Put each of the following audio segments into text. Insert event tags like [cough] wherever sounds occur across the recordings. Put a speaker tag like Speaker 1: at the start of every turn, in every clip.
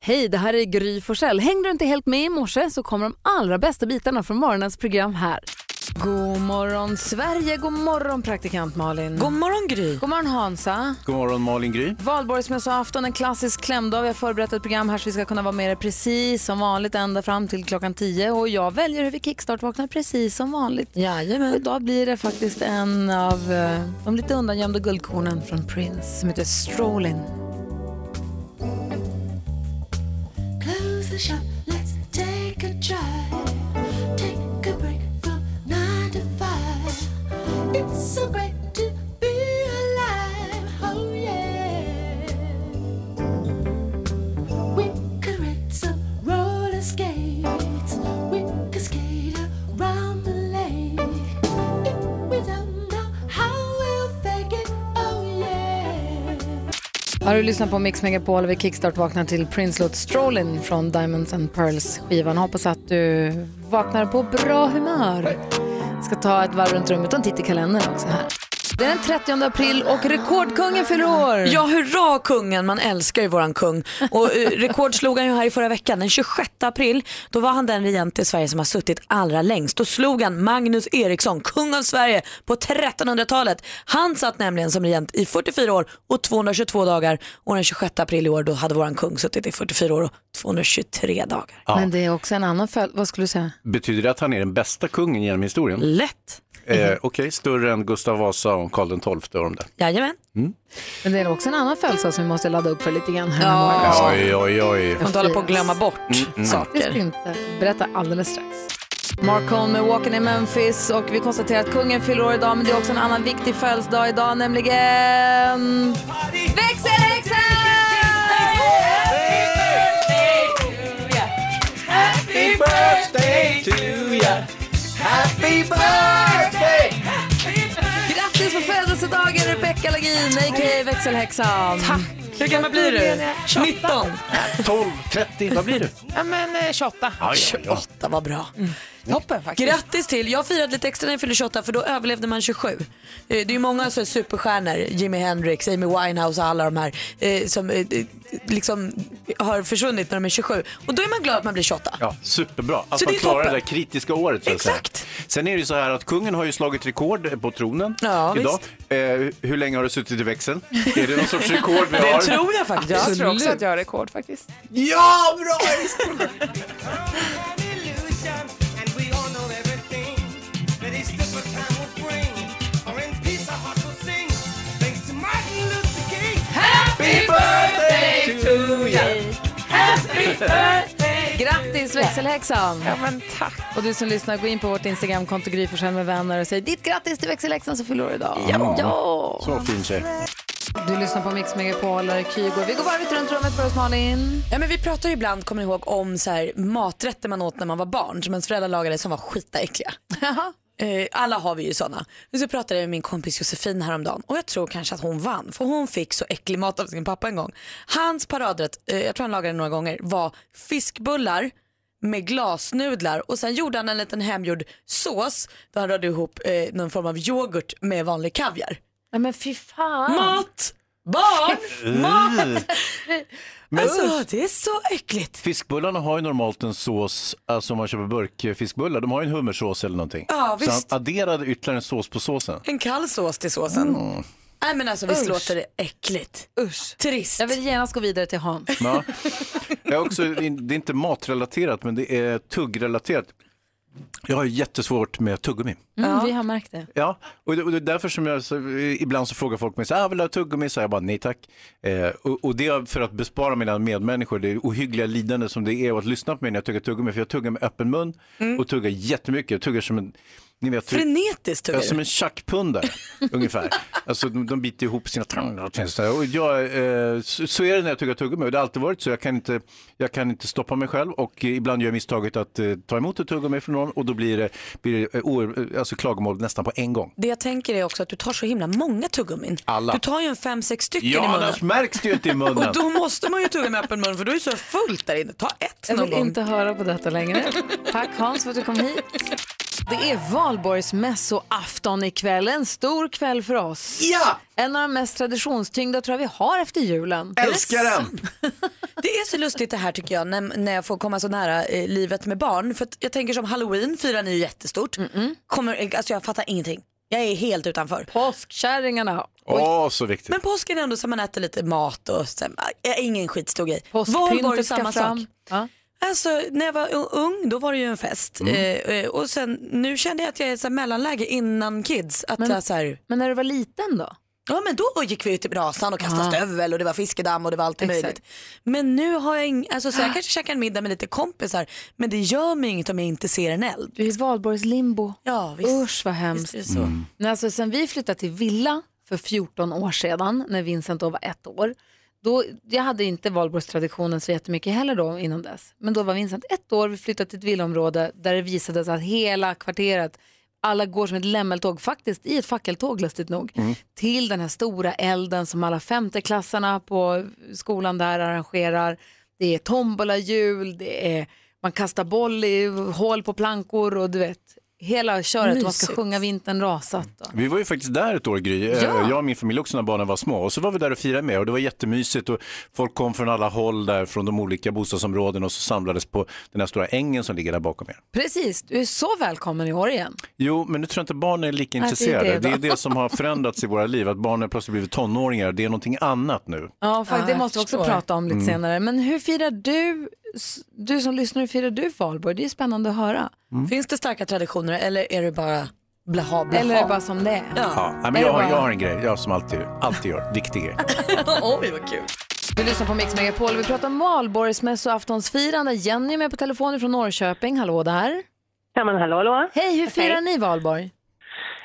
Speaker 1: Hej, det här är Gry Forssell. Hängde du inte helt med i morse så kommer de allra bästa bitarna från morgonens program här. God morgon Sverige, god morgon praktikant Malin.
Speaker 2: God morgon Gry.
Speaker 1: God morgon Hansa.
Speaker 3: God morgon Malin Gry.
Speaker 1: Valborgsmässoafton, en klassisk klämdag. Vi har förberett ett program här så vi ska kunna vara med er precis som vanligt ända fram till klockan 10. Och jag väljer hur vi kickstart-vaknar precis som vanligt.
Speaker 2: Jajamän.
Speaker 1: Och idag blir det faktiskt en av eh, de lite undangömda guldkornen från Prince som heter Strolling.
Speaker 4: Close the shop, let's take a drive. Take a break from nine to five. It's so great to be alive. Oh yeah. We could rent some roller skates. We could skate around the lake. If we don't know how we'll fake it. Oh yeah.
Speaker 1: Har du lyssnat på Mix Megapol och vi kickstart vaknar till Prince-låt Strollin från Diamonds and Pearls-skivan. Hoppas att du vaknar på bra humör. Ska ta ett varv runt rummet och en titt i kalendern också här. Det är den 30 april och rekordkungen fyller år.
Speaker 2: Ja, hurra kungen, man älskar ju våran kung. Och eh, rekord slog han ju här i förra veckan, den 26 april, då var han den regent i Sverige som har suttit allra längst. Då slog han Magnus Eriksson, kung av Sverige, på 1300-talet. Han satt nämligen som regent i 44 år och 222 dagar och den 26 april i år då hade våran kung suttit i 44 år och 223 dagar.
Speaker 3: Ja.
Speaker 1: Men det är också en annan följd. Vad skulle du säga?
Speaker 3: Betyder det att han är den bästa kungen genom historien?
Speaker 2: Lätt!
Speaker 3: Eh, Okej, större än Gustav Vasa och Karl XII och de där.
Speaker 2: Jajamän.
Speaker 1: Men det är också en annan födelsedag som vi måste ladda upp för lite grann här
Speaker 2: Ja.
Speaker 1: ja.
Speaker 3: Oj, oj, oj.
Speaker 2: Man håller på att glömma bort
Speaker 1: Visst
Speaker 2: saker.
Speaker 1: inte. Berätta alldeles strax. Mark Holm med Walking in Memphis och vi konstaterar att kungen fyller år idag men det är också en annan viktig födelsedag idag nämligen... Växelhäxan! Grattis på födelsedagen Rebecca Lagin, a.k.a. växelhäxan. Tack.
Speaker 2: Hur gammal blir du? 19.
Speaker 3: 12, 30, vad
Speaker 2: [laughs]
Speaker 3: blir du?
Speaker 5: Ja, men eh, 28.
Speaker 3: Aj, aj, aj.
Speaker 2: 28, vad bra.
Speaker 5: Toppen faktiskt.
Speaker 2: Grattis till! Jag firade lite extra när jag fyllde 28 för då överlevde man 27. Eh, Det är ju många så här superstjärnor, Jimi Hendrix, Amy Winehouse och alla de här eh, som eh, liksom har försvunnit när de är 27. Och då är man glad att man blir 28.
Speaker 3: Ja, superbra. Att
Speaker 2: Så
Speaker 3: man
Speaker 2: det är
Speaker 3: klarar det
Speaker 2: toppen.
Speaker 3: där kritiska året. Så att
Speaker 2: Exakt.
Speaker 3: Säga. Sen är det ju så här att kungen har ju slagit rekord eh, på tronen
Speaker 2: Ja,
Speaker 3: idag. Eh, hur länge har du suttit i växeln? är det någon sorts rekord
Speaker 2: [laughs]
Speaker 3: vi har?
Speaker 2: tror jag faktiskt.
Speaker 5: Jag tror också att jag har rekord faktiskt.
Speaker 3: Ja, bra! jag visste det.
Speaker 1: Grattis växelhäxan!
Speaker 5: Ja, men tack.
Speaker 1: Och du som lyssnar, gå in på vårt Instagramkonto Gry Forssell med vänner och säg ditt grattis till växelhäxan som fyller år idag.
Speaker 3: Ja.
Speaker 1: ja.
Speaker 3: Så fin tjej.
Speaker 1: Du lyssnar på Mix Megapol och Kygo. Vi går varvet runt rummet för oss Malin.
Speaker 2: Ja, men vi pratar ju ibland, kommer ni ihåg, om så här, maträtter man åt när man var barn som ens föräldrar lagade som var skitäckliga. Eh, Alla har vi ju sådana. Men så pratade jag med min kompis Josefin häromdagen och jag tror kanske att hon vann för hon fick så äcklig mat av sin pappa en gång. Hans paradrätt, eh, jag tror han lagade det några gånger, var fiskbullar med glasnudlar och sen gjorde han en liten hemgjord sås där han rörde ihop eh, någon form av yoghurt med vanlig kaviar.
Speaker 1: Nej men fy fan.
Speaker 2: Mat! Barn! Mat!
Speaker 3: Men
Speaker 2: Åh, det är så äckligt.
Speaker 3: Fiskbullarna har ju normalt en sås, alltså om man köper burkfiskbullar, de har ju en hummersås eller någonting.
Speaker 2: Ja,
Speaker 3: Så han
Speaker 2: visst.
Speaker 3: adderade ytterligare en sås på såsen.
Speaker 2: En kall sås till såsen.
Speaker 3: Mm.
Speaker 2: Nej men alltså visst
Speaker 1: Usch.
Speaker 2: låter det äckligt. Usch. Trist.
Speaker 1: Jag vill genast gå vidare till Hans.
Speaker 3: Ja. Jag har också, det är inte matrelaterat, men det är tuggrelaterat. Jag har ju jättesvårt med tuggummi.
Speaker 1: Mm, Vi har märkt det.
Speaker 3: Ja, och det, och det är därför som jag så, ibland så frågar folk mig så här, "Ah, vill du ha tuggummi? Så jag bara, nej tack. Eh, och, och det är för att bespara mina medmänniskor det ohyggliga lidande som det är och att lyssna på mig när jag tuggar tuggummi. För jag tuggar med öppen mun
Speaker 2: Mm.
Speaker 3: och tuggar jättemycket. Jag tuggar som en, ni vet, hur-
Speaker 2: Frenetiskt tuggar
Speaker 3: Ja, som
Speaker 2: du.
Speaker 3: en
Speaker 2: [laughs]
Speaker 3: tjackpundare ungefär. Alltså, de, de biter ihop sina tandar. och så där. Och jag, eh, så, så är det när jag tuggar tuggummi och det har alltid varit så. Jag kan inte, jag kan inte stoppa mig själv och eh, ibland gör jag misstaget att eh, ta emot ett tuggummi från någon och då blir det, blir det eh, oer- eh, alltså, klagomål nästan på en gång.
Speaker 2: Det jag tänker är också att du tar så himla många tuggummin.
Speaker 3: Alla.
Speaker 2: Du tar ju en fem, sex stycken i
Speaker 3: Ja,
Speaker 2: munnen.
Speaker 3: annars märks det ju inte i munnen.
Speaker 2: [laughs] Och då måste man ju tugga med öppen mun för då är det så fullt där inne. Ta ett
Speaker 1: Jag
Speaker 2: någon
Speaker 1: vill
Speaker 2: gång.
Speaker 1: inte höra på detta längre. Tack Hans för att du kom hit. Det är valborgsmässoafton ikväll. En stor kväll för oss.
Speaker 3: Ja,
Speaker 1: En av de mest traditionstyngda tror jag vi har efter julen.
Speaker 3: älskar den!
Speaker 2: Det är så lustigt det här tycker jag när, när jag får komma så nära eh, livet med barn. För att jag tänker som halloween firar ni ju jättestort. Kommer, alltså jag fattar ingenting. Jag är helt utanför.
Speaker 1: Påskkärringarna.
Speaker 3: Åh, så viktigt.
Speaker 2: Men påsken är ändå så man äter lite mat och så, äh, ingen skitstor grej. Valborg är
Speaker 1: Påskpyntet ska
Speaker 2: samma
Speaker 1: fram.
Speaker 2: sak.
Speaker 1: Ja.
Speaker 2: Alltså när jag var u- ung då var det ju en fest.
Speaker 1: Mm.
Speaker 2: Eh, Eh, och sen nu kände jag att jag är så här mellanläge innan kids. Att jag så här,
Speaker 1: Men när du var liten då?
Speaker 2: ja men då gick vi ut i brasan och kastade
Speaker 1: Ah.
Speaker 2: stövel och det var fiskedamm och det var allt
Speaker 1: Exakt. Ah.
Speaker 2: möjligt. Men nu har jag ing- alltså så jag kanske käkar en middag med lite kompisar men det gör mig inget om jag inte ser en eld.
Speaker 1: Du är i valborgslimbo.
Speaker 2: Ja visst.
Speaker 1: Usch vad
Speaker 2: Visst
Speaker 1: hemskt.
Speaker 2: är det så.
Speaker 1: Men alltså, sen vi flyttade till villa för 14 år sedan, när Vincent då var ett år, då, jag hade inte valborgstraditionen så jättemycket heller då innan dess. Men då var Vincent ett år, vi flyttade till ett villaområde där det visade sig att hela kvarteret, alla går som ett lämmeltåg, faktiskt i ett fackeltåg lustigt nog, till den här stora elden som alla femteklassarna på skolan där arrangerar. Det är tombolahjul, det är, man kastar boll i hål på plankor och du vet, hela köret, och man ska
Speaker 2: Mysigt.
Speaker 1: sjunga vintern rasat. Och.
Speaker 3: Vi var ju faktiskt där ett år Gry, Eh,
Speaker 1: Ja.
Speaker 3: jag och min familj också när barnen var små. Och så var vi där och firade med och det var jättemysigt och folk kom från alla håll där från de olika bostadsområden och så samlades på den här stora ängen som ligger där bakom er.
Speaker 1: Precis, du är så välkommen i år igen.
Speaker 3: Jo, men nu tror jag inte barnen är lika
Speaker 1: det är
Speaker 3: intresserade.
Speaker 1: det
Speaker 3: det,
Speaker 1: då.
Speaker 3: är det
Speaker 1: [laughs]
Speaker 3: som har förändrats i våra liv, att barnen plötsligt blivit tonåringar. Det är någonting annat nu.
Speaker 1: Ja, Mm. fakt, det
Speaker 2: jag
Speaker 1: måste vi också
Speaker 2: förstår.
Speaker 1: prata om lite senare. Men hur firar du, s- du som lyssnar, hur firar du valborg? Det är ju spännande att höra.
Speaker 2: Finns det starka traditioner eller är det bara blaha blaha?
Speaker 1: Eller är det bara som det är?
Speaker 2: ja.
Speaker 3: Ja, nej,
Speaker 1: Är
Speaker 3: men
Speaker 1: det
Speaker 3: jag, har,
Speaker 1: bara-
Speaker 3: jag har en grej, jag som alltid, alltid gör, viktig
Speaker 1: [laughs]
Speaker 3: grej.
Speaker 2: [laughs] Oj vad kul.
Speaker 1: Du lyssnar på Mix Megapol. Vi pratar valborgsmässoaftonsfirande. Jenny är med på telefon från Norrköping. Hallå där.
Speaker 6: Ja men hallå hallå.
Speaker 1: Hej, hur firar ni valborg?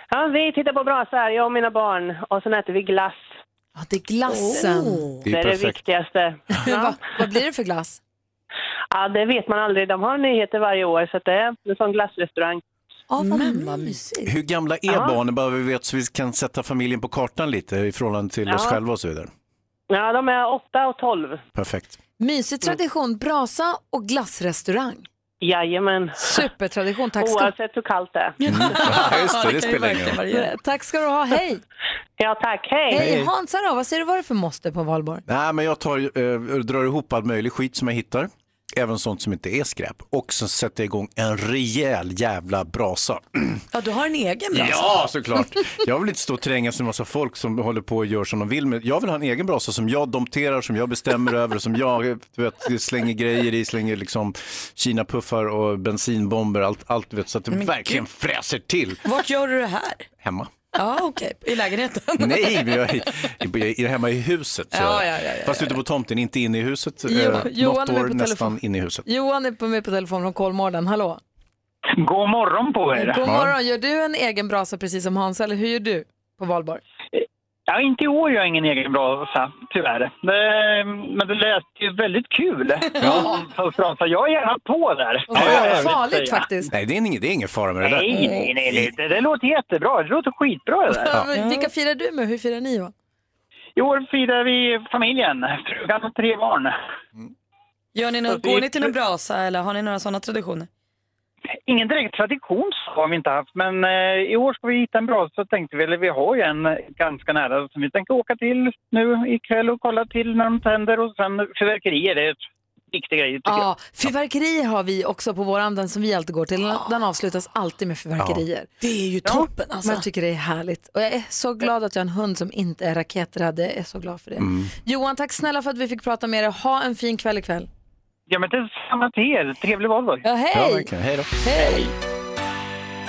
Speaker 6: Ja, vi tittar på brasor, jag och mina barn. Och sen äter vi glass.
Speaker 1: Ja, det är glassen.
Speaker 3: Det
Speaker 2: Oh.
Speaker 6: Det
Speaker 3: är
Speaker 6: är det
Speaker 3: perfekt.
Speaker 6: viktigaste. Ja.
Speaker 1: Va, vad blir det för glass?
Speaker 6: ja, det vet man aldrig. De har nyheter varje år så att det är en sån glassrestaurang.
Speaker 1: Ja, vad
Speaker 2: Men vad
Speaker 1: mysigt.
Speaker 3: Hur gamla är
Speaker 6: Ja.
Speaker 3: barnen, bara vi vet så vi kan sätta familjen på kartan lite i förhållande till oss
Speaker 6: Ja.
Speaker 3: själva och så vidare.
Speaker 6: Ja, de är åtta och tolv.
Speaker 3: Perfekt.
Speaker 1: Mysig tradition, brasa och glassrestaurang.
Speaker 6: Jajamän.
Speaker 1: Supertradition, tack ska,
Speaker 6: Oavsett hur kallt det är.
Speaker 3: Ja, just det, det
Speaker 2: kan ju
Speaker 3: spelar ingen roll.
Speaker 2: verkligen variera.
Speaker 1: tack ska du ha. Hej!
Speaker 6: [laughs] Ja tack, hej!
Speaker 1: Hej Hansa då, vad säger du vad det är för måste på valborg?
Speaker 3: Nej, men jag tar, eh, drar ihop all möjlig skit som jag hittar, även sånt som inte är skräp. Och så sätter jag igång en rejäl jävla brasa.
Speaker 2: Ja, du har en egen brasa.
Speaker 3: Ja, såklart. Jag vill inte stå och trängas med en massa folk som håller på och gör som de vill. Men jag vill ha en egen brasa som jag domterar, som jag bestämmer över, och som jag eh, du vet, slänger grejer i, slänger liksom kinapuffar och bensinbomber, allt, allt du vet, så att det verkligen fräser till
Speaker 2: Vart gör du det här?
Speaker 3: hemma.
Speaker 2: Ja, okej. I lägenheten?
Speaker 3: Nej, men jag är, jag är hemma i huset. Så.
Speaker 2: Ja, ja, ja, ja,
Speaker 3: Fast ute på tomten, inte inne i huset.
Speaker 1: Jo-
Speaker 3: Eh,
Speaker 1: Johan
Speaker 3: Något
Speaker 1: är med på
Speaker 3: år
Speaker 1: telefon.
Speaker 3: nästan inne i huset.
Speaker 1: Johan är på- med på telefon från Kolmården, hallå.
Speaker 7: God morgon på er!
Speaker 1: God morgon, gör du en egen brasa precis som Hans eller hur gör du på valborg?
Speaker 7: Ja, inte i år gör jag ingen egen brasa, tyvärr. Eh, Men det lät ju väldigt kul. [laughs] Ja. Så jag är gärna på där.
Speaker 1: Och så är det
Speaker 7: Jag vill
Speaker 1: farligt
Speaker 7: säga.
Speaker 1: faktiskt.
Speaker 3: Nej, det är ingen, det är ingen fara med det där.
Speaker 7: Nej, nej, nej, nej. Det, det låter jättebra. Det låter skitbra det där.
Speaker 1: Vilka firar du med? Hur firar ni? Johan?
Speaker 7: I år firar vi familjen, frugan och tre barn.
Speaker 2: Gör ni nå-
Speaker 7: Alltså,
Speaker 2: går
Speaker 7: i-
Speaker 2: ni till någon brasa eller har ni några sådana traditioner?
Speaker 7: Ingen direkt tradition så har vi inte haft, men eh, i år ska vi hitta en brasa så tänkte vi, eller vi har ju en ganska nära som vi tänker åka till nu ikväll och kolla till när de tänder och sen fyrverkerier, det är ett viktigt grej tycker jag.
Speaker 1: Ja, fyrverkerier har vi också på våran, den som vi alltid går till.
Speaker 7: Ah.
Speaker 1: Den avslutas alltid med fyrverkerier.
Speaker 2: Det är ju toppen alltså.
Speaker 1: Men jag tycker det är härligt. Och jag är så glad att jag har en hund som inte är raketrädd. Jag är så glad för det. Johan, tack snälla för att vi fick prata med dig. Ha en fin kväll ikväll.
Speaker 7: Ja men det samma till er, trevlig valborg!
Speaker 1: Ja, hej!
Speaker 3: Ja, verkligen. Hej då.
Speaker 1: Hej!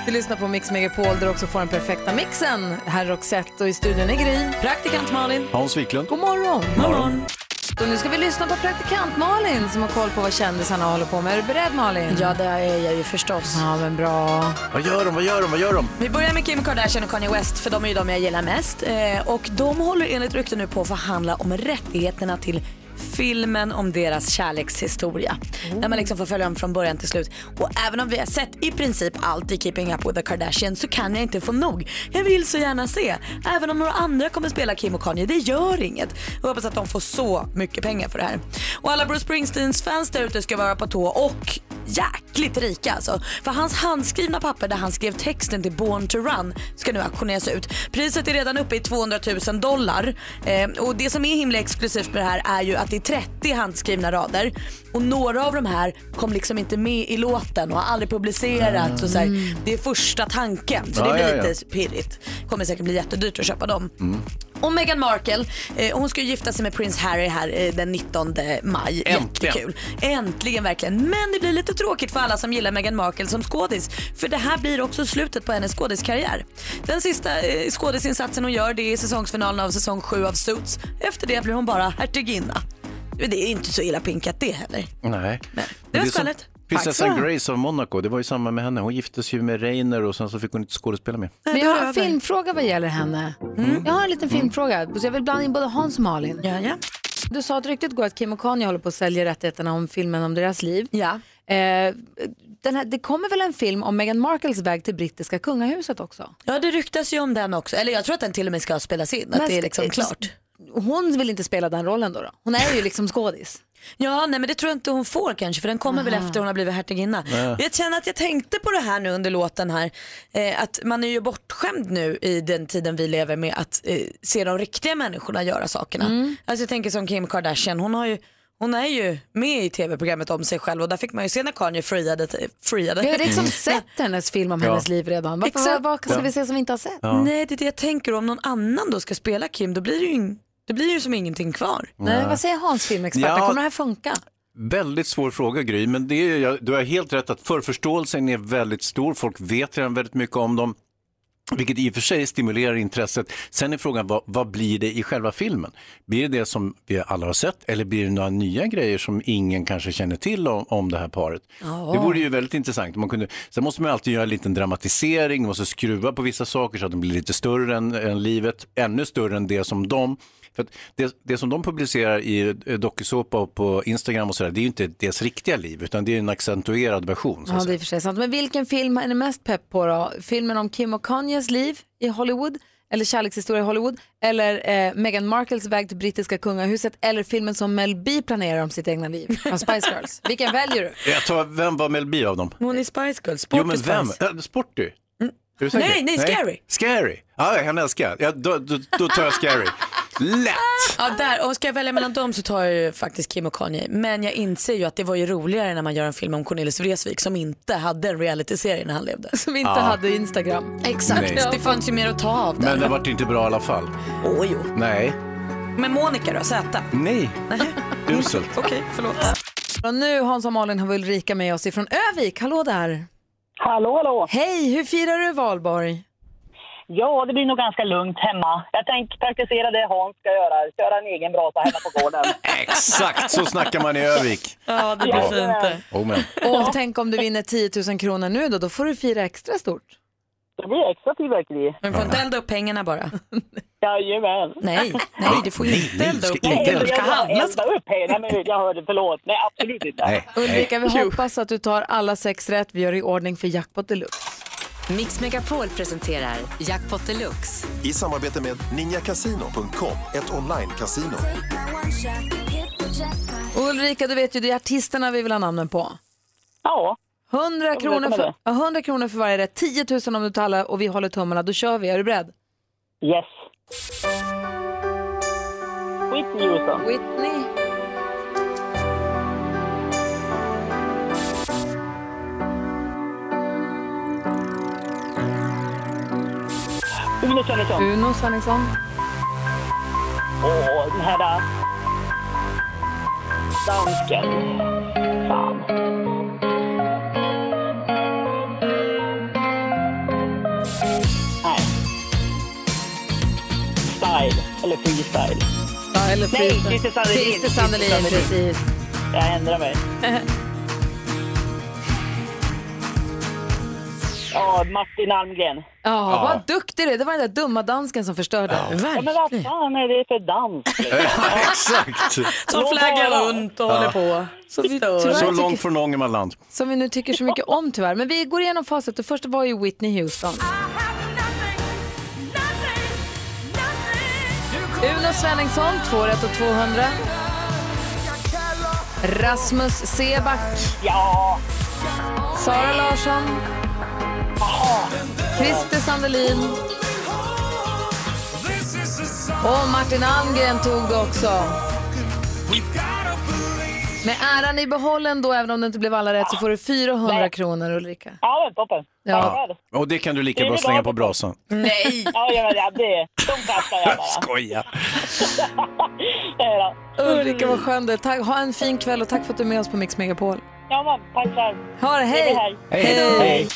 Speaker 1: Du lyssnar på Mix Megapol där du också får den perfekta mixen. Här är Roxette och i studion är Gry.
Speaker 2: Praktikant Malin.
Speaker 3: Hans Wiklund.
Speaker 1: God morgon!
Speaker 2: Morgon.
Speaker 1: Och nu ska vi lyssna på praktikant Malin som har koll på vad kändisarna håller på med. Är du beredd Malin?
Speaker 2: Ja, det är jag ju förstås.
Speaker 1: Ja, men bra.
Speaker 3: Vad gör de? Vad gör de? Vad gör de?
Speaker 2: Vi börjar med Kim Kardashian och Kanye West för de är ju de jag gillar mest. Eh, och de håller enligt rykte nu på att förhandla om rättigheterna till filmen om deras kärlekshistoria. När man liksom får följa dem från början till slut. Och även om vi har sett i princip allt i Keeping Up With The Kardashians så kan jag inte få nog. Jag vill så gärna se. Även om några andra kommer spela Kim och Kanye, det gör inget. Jag hoppas att de får så mycket pengar för det här. Och alla Bruce Springsteens fans där ute ska vara på tå och Jack äckligt rika alltså. För hans handskrivna papper där han skrev texten till Born to Run ska nu auktioneras ut. Priset är redan uppe i 200 000 dollar. Eh, och det som är himla exklusivt med det här är ju att det är 30 handskrivna rader. Och några av de här kom liksom inte med i låten och har aldrig publicerats. Och så här. Det är första tanken. Så
Speaker 3: Mm. Ja, ja,
Speaker 2: det blir
Speaker 3: ja. Mm.
Speaker 2: lite pirrigt. Kommer säkert bli jättedyrt att köpa dem. Och Meghan Markle, eh, hon ska ju gifta sig med prins Harry här eh, den 19 maj.
Speaker 3: Äntligen.
Speaker 2: Jättekul. Äntligen verkligen. Men det blir lite tråkigt för alla som gillar Meghan Markle som skådis. För det här blir också slutet på hennes skådiskarriär. Den sista eh, skådisinsatsen hon gör det är säsongsfinalen av säsong 7 av Suits. Efter det blir hon bara hertiginna. Det är inte så illa pinkat det heller.
Speaker 3: Nej.
Speaker 2: Men det
Speaker 3: Men
Speaker 2: var
Speaker 3: är som
Speaker 2: skvallret.
Speaker 3: Prinsessan Grace av Monaco, det var ju samma med henne. Hon giftes ju med Reiner och sen så fick hon inte skådespela mer.
Speaker 1: Men jag har en filmfråga vad gäller henne. Jag har en liten filmfråga. Så jag vill blanda in både Hans och Malin.
Speaker 2: Mm. Ja, ja.
Speaker 1: Du sa att ryktet går att Kim och Kanye håller på att sälja rättigheterna om filmen om deras liv.
Speaker 2: ja.
Speaker 1: Eh, den här, det kommer väl en film om Meghan Markles väg till brittiska kungahuset också?
Speaker 2: Ja, det ryktas ju om den också. Eller jag tror att den till och med ska spelas in. Att
Speaker 1: Men
Speaker 2: det är
Speaker 1: ska-
Speaker 2: liksom klart.
Speaker 1: Hon vill inte spela den rollen då? då. Hon är ju liksom [laughs] skådis.
Speaker 2: Ja, nej men det tror jag inte hon får kanske för den kommer väl efter hon har blivit hertiginna. Jag känner att jag tänkte på det här nu under låten här. Eh, att man är ju bortskämd nu i den tiden vi lever med att eh, se de riktiga människorna göra sakerna. Alltså jag tänker som Kim Kardashian, hon har ju hon är ju med i tv-programmet om sig själv och där fick man ju se när Kanye friade. friade.
Speaker 1: Vi har [laughs] liksom sett hennes film om hennes liv redan. Varför,
Speaker 2: Exakt.
Speaker 1: Vad ska vi se som vi inte har sett?
Speaker 2: Nej det är det jag tänker, om någon annan då ska spela Kim då blir det ju, in, det blir ju som ingenting kvar.
Speaker 1: Nej, vad säger Hans filmexpert?
Speaker 3: Ja.
Speaker 1: Kommer det här funka?
Speaker 3: Väldigt svår fråga Gry, men det är, jag- du har helt rätt att förförståelsen är väldigt stor. Folk vet redan väldigt mycket om dem. Vilket i och för sig stimulerar intresset. Sen är frågan, vad, vad blir det i själva filmen? Blir det det som vi alla har sett eller blir det några nya grejer som ingen kanske känner till om, om det här paret? Det vore ju väldigt intressant. om Man kunde, sen måste man ju alltid göra en liten dramatisering, man måste skruva på vissa saker så att de blir lite större än, än livet, ännu större än det som de för att det, det som de publicerar i eh, dokusåpa och på Instagram och sådär, det är ju inte deras riktiga liv utan det är en accentuerad version. Så att
Speaker 1: Ja, det
Speaker 3: säga.
Speaker 1: är i och för sig sant. Men vilken film är ni mest pepp på då? Filmen om Kim och Kanyes liv i Hollywood? Eller kärlekshistoria i Hollywood? Eller eh, Meghan Markles väg till brittiska kungahuset? Eller filmen som Mel B planerar om sitt egna liv från [laughs] Spice Girls? Vilken väljer du?
Speaker 3: Jag tar, vem var Mel B av dem?
Speaker 2: Hon är Spice Girls,
Speaker 3: Jo men vem? Eh, Sporty? Är du säker?
Speaker 2: Nej, nej, Scary.
Speaker 3: Scary? Ja, henne älskar jag. Ja, då, då, då tar jag Scary. Lätt!
Speaker 2: Ja, där. Och ska jag välja mellan dem så tar jag ju faktiskt Kim och Kanye. Men jag inser ju att det var ju roligare när man gör en film om Cornelis Vreeswijk som inte hade en realityserie när han levde.
Speaker 1: Som inte hade Instagram.
Speaker 2: Exakt,
Speaker 3: Nej.
Speaker 2: det fanns ju mer att ta av där.
Speaker 3: Men det vart inte bra i alla fall.
Speaker 2: Åh, jo.
Speaker 3: Nej.
Speaker 2: Men Monica då, Zäta?
Speaker 3: Nej. Uselt.
Speaker 2: Okej, förlåt.
Speaker 1: Och nu Hans och Malin har vi Ulrika med oss ifrån Övik. Hallå där!
Speaker 6: Hallå, hallå!
Speaker 1: Hej, hur firar
Speaker 6: [laughs]
Speaker 1: du valborg?
Speaker 6: Ja, det blir nog ganska lugnt hemma. Jag tänker praktisera det Hans ska göra, köra en egen brasa hemma på gården.
Speaker 3: Exakt så snackar man i Övik.
Speaker 2: Ja, det
Speaker 3: Ja.
Speaker 2: blir fint.
Speaker 3: Oh, men.
Speaker 1: Och tänk om du vinner 10 000 kronor nu då, då får du fira extra stort.
Speaker 6: [laughs] Det blir extra fyrverkeri.
Speaker 2: Men får inte elda upp pengarna bara.
Speaker 6: Jajamän.
Speaker 2: Nej, nej, du får ju
Speaker 3: Nej,
Speaker 2: inte
Speaker 3: nej,
Speaker 2: elda
Speaker 3: ska
Speaker 2: upp
Speaker 3: inte
Speaker 2: pengarna.
Speaker 3: elda
Speaker 2: Du
Speaker 6: Jag
Speaker 3: upp.
Speaker 2: ska
Speaker 6: ska elda
Speaker 2: handla.
Speaker 6: upp här. Nej, men jag hörde, förlåt. Nej, absolut inte.
Speaker 3: Nej.
Speaker 1: Ulrika, vi hoppas att du tar alla sex rätt. Vi gör i ordning för jackpot deluxe.
Speaker 8: Mix Megapol presenterar Jackpot Deluxe.
Speaker 9: I samarbete med ninjakasino.com, ett online-casino.
Speaker 1: Och Ulrika, du vet ju, det är artisterna vi vill ha namnen på.
Speaker 6: Ja,
Speaker 1: 100 kronor
Speaker 6: kommer
Speaker 1: för,
Speaker 6: det.
Speaker 1: ja, 100 kronor för varje rätt, 10 000 om du tar alla och vi håller tummarna. Då kör vi, är du beredd?
Speaker 6: yes. Whitney Houston.
Speaker 1: Whitney.
Speaker 6: Uno Svenningsson.
Speaker 1: Uno Svenningsson.
Speaker 6: Åh, den här där. Dansken. Fan. Nej. Style, eller freestyle.
Speaker 1: Eller
Speaker 6: Nej,
Speaker 1: Christer-
Speaker 6: Christer Sandelin.
Speaker 1: Christer Sandelin,
Speaker 6: Christer
Speaker 1: precis.
Speaker 6: Jag ändrar mig. Ja, Martin Almgren.
Speaker 1: Ja, vad duktig du är. Det var den där dumma dansken som förstörde.
Speaker 6: Ja, men vad fan är det för dans?
Speaker 3: [laughs] Exakt.
Speaker 2: Som flaggar runt och håller på. Så vi
Speaker 1: Tyvärr
Speaker 3: Så
Speaker 1: tycker-
Speaker 3: långt från Ångermanland.
Speaker 1: Som vi nu tycker så mycket om tyvärr. Men vi går igenom facit. Det första var ju Whitney Houston. Uno Svenningsson, 2 rätt och 200. Rasmus Seback,
Speaker 6: Ja,
Speaker 1: Sara Larsson. Christer Sandelin. Och Martin Almgren tog det också. Med äran i behållen då, även om det inte blev alla rätt, så får du 400 kronor Ulrika.
Speaker 6: Ja, men toppen.
Speaker 1: Ja.
Speaker 6: det.
Speaker 3: Och det kan du
Speaker 6: Det
Speaker 3: lika
Speaker 6: är
Speaker 3: bra
Speaker 6: väl
Speaker 3: slänga
Speaker 6: bra.
Speaker 3: på brasan.
Speaker 1: Nej!
Speaker 6: Ja, ja, ja, det. De kastar jag
Speaker 3: [laughs]
Speaker 6: bara.
Speaker 3: Skoja!
Speaker 6: Det är det.
Speaker 1: Ulrika, vad skönt det är. Tack- Ha en fin kväll och tack för att du är med oss på Mix Megapol.
Speaker 6: Ja, men tack själv.
Speaker 1: Ha det,
Speaker 6: Det
Speaker 1: hej!
Speaker 6: är här.
Speaker 1: Hej!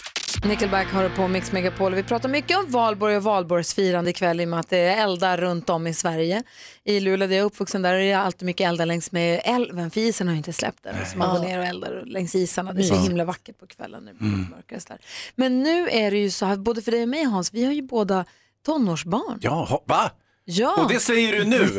Speaker 1: Nickelback har det på Mix Megapol. Vi pratar mycket om valborg och valborgsfirande ikväll i och med att det är eldar runt om i Sverige. I Luleå där jag är uppvuxen där är det alltid mycket eldar längs med älven för isen har ju inte släppt den. Så man går ner och eldar längs isarna. Det är så himla vackert på kvällen när det blir
Speaker 3: Mm.
Speaker 1: lite mörkare. och sådär. Men nu är det ju så här, både för dig och mig Hans, vi har ju båda tonårsbarn.
Speaker 3: Ja, va?
Speaker 1: Ja,
Speaker 3: Och det säger du nu?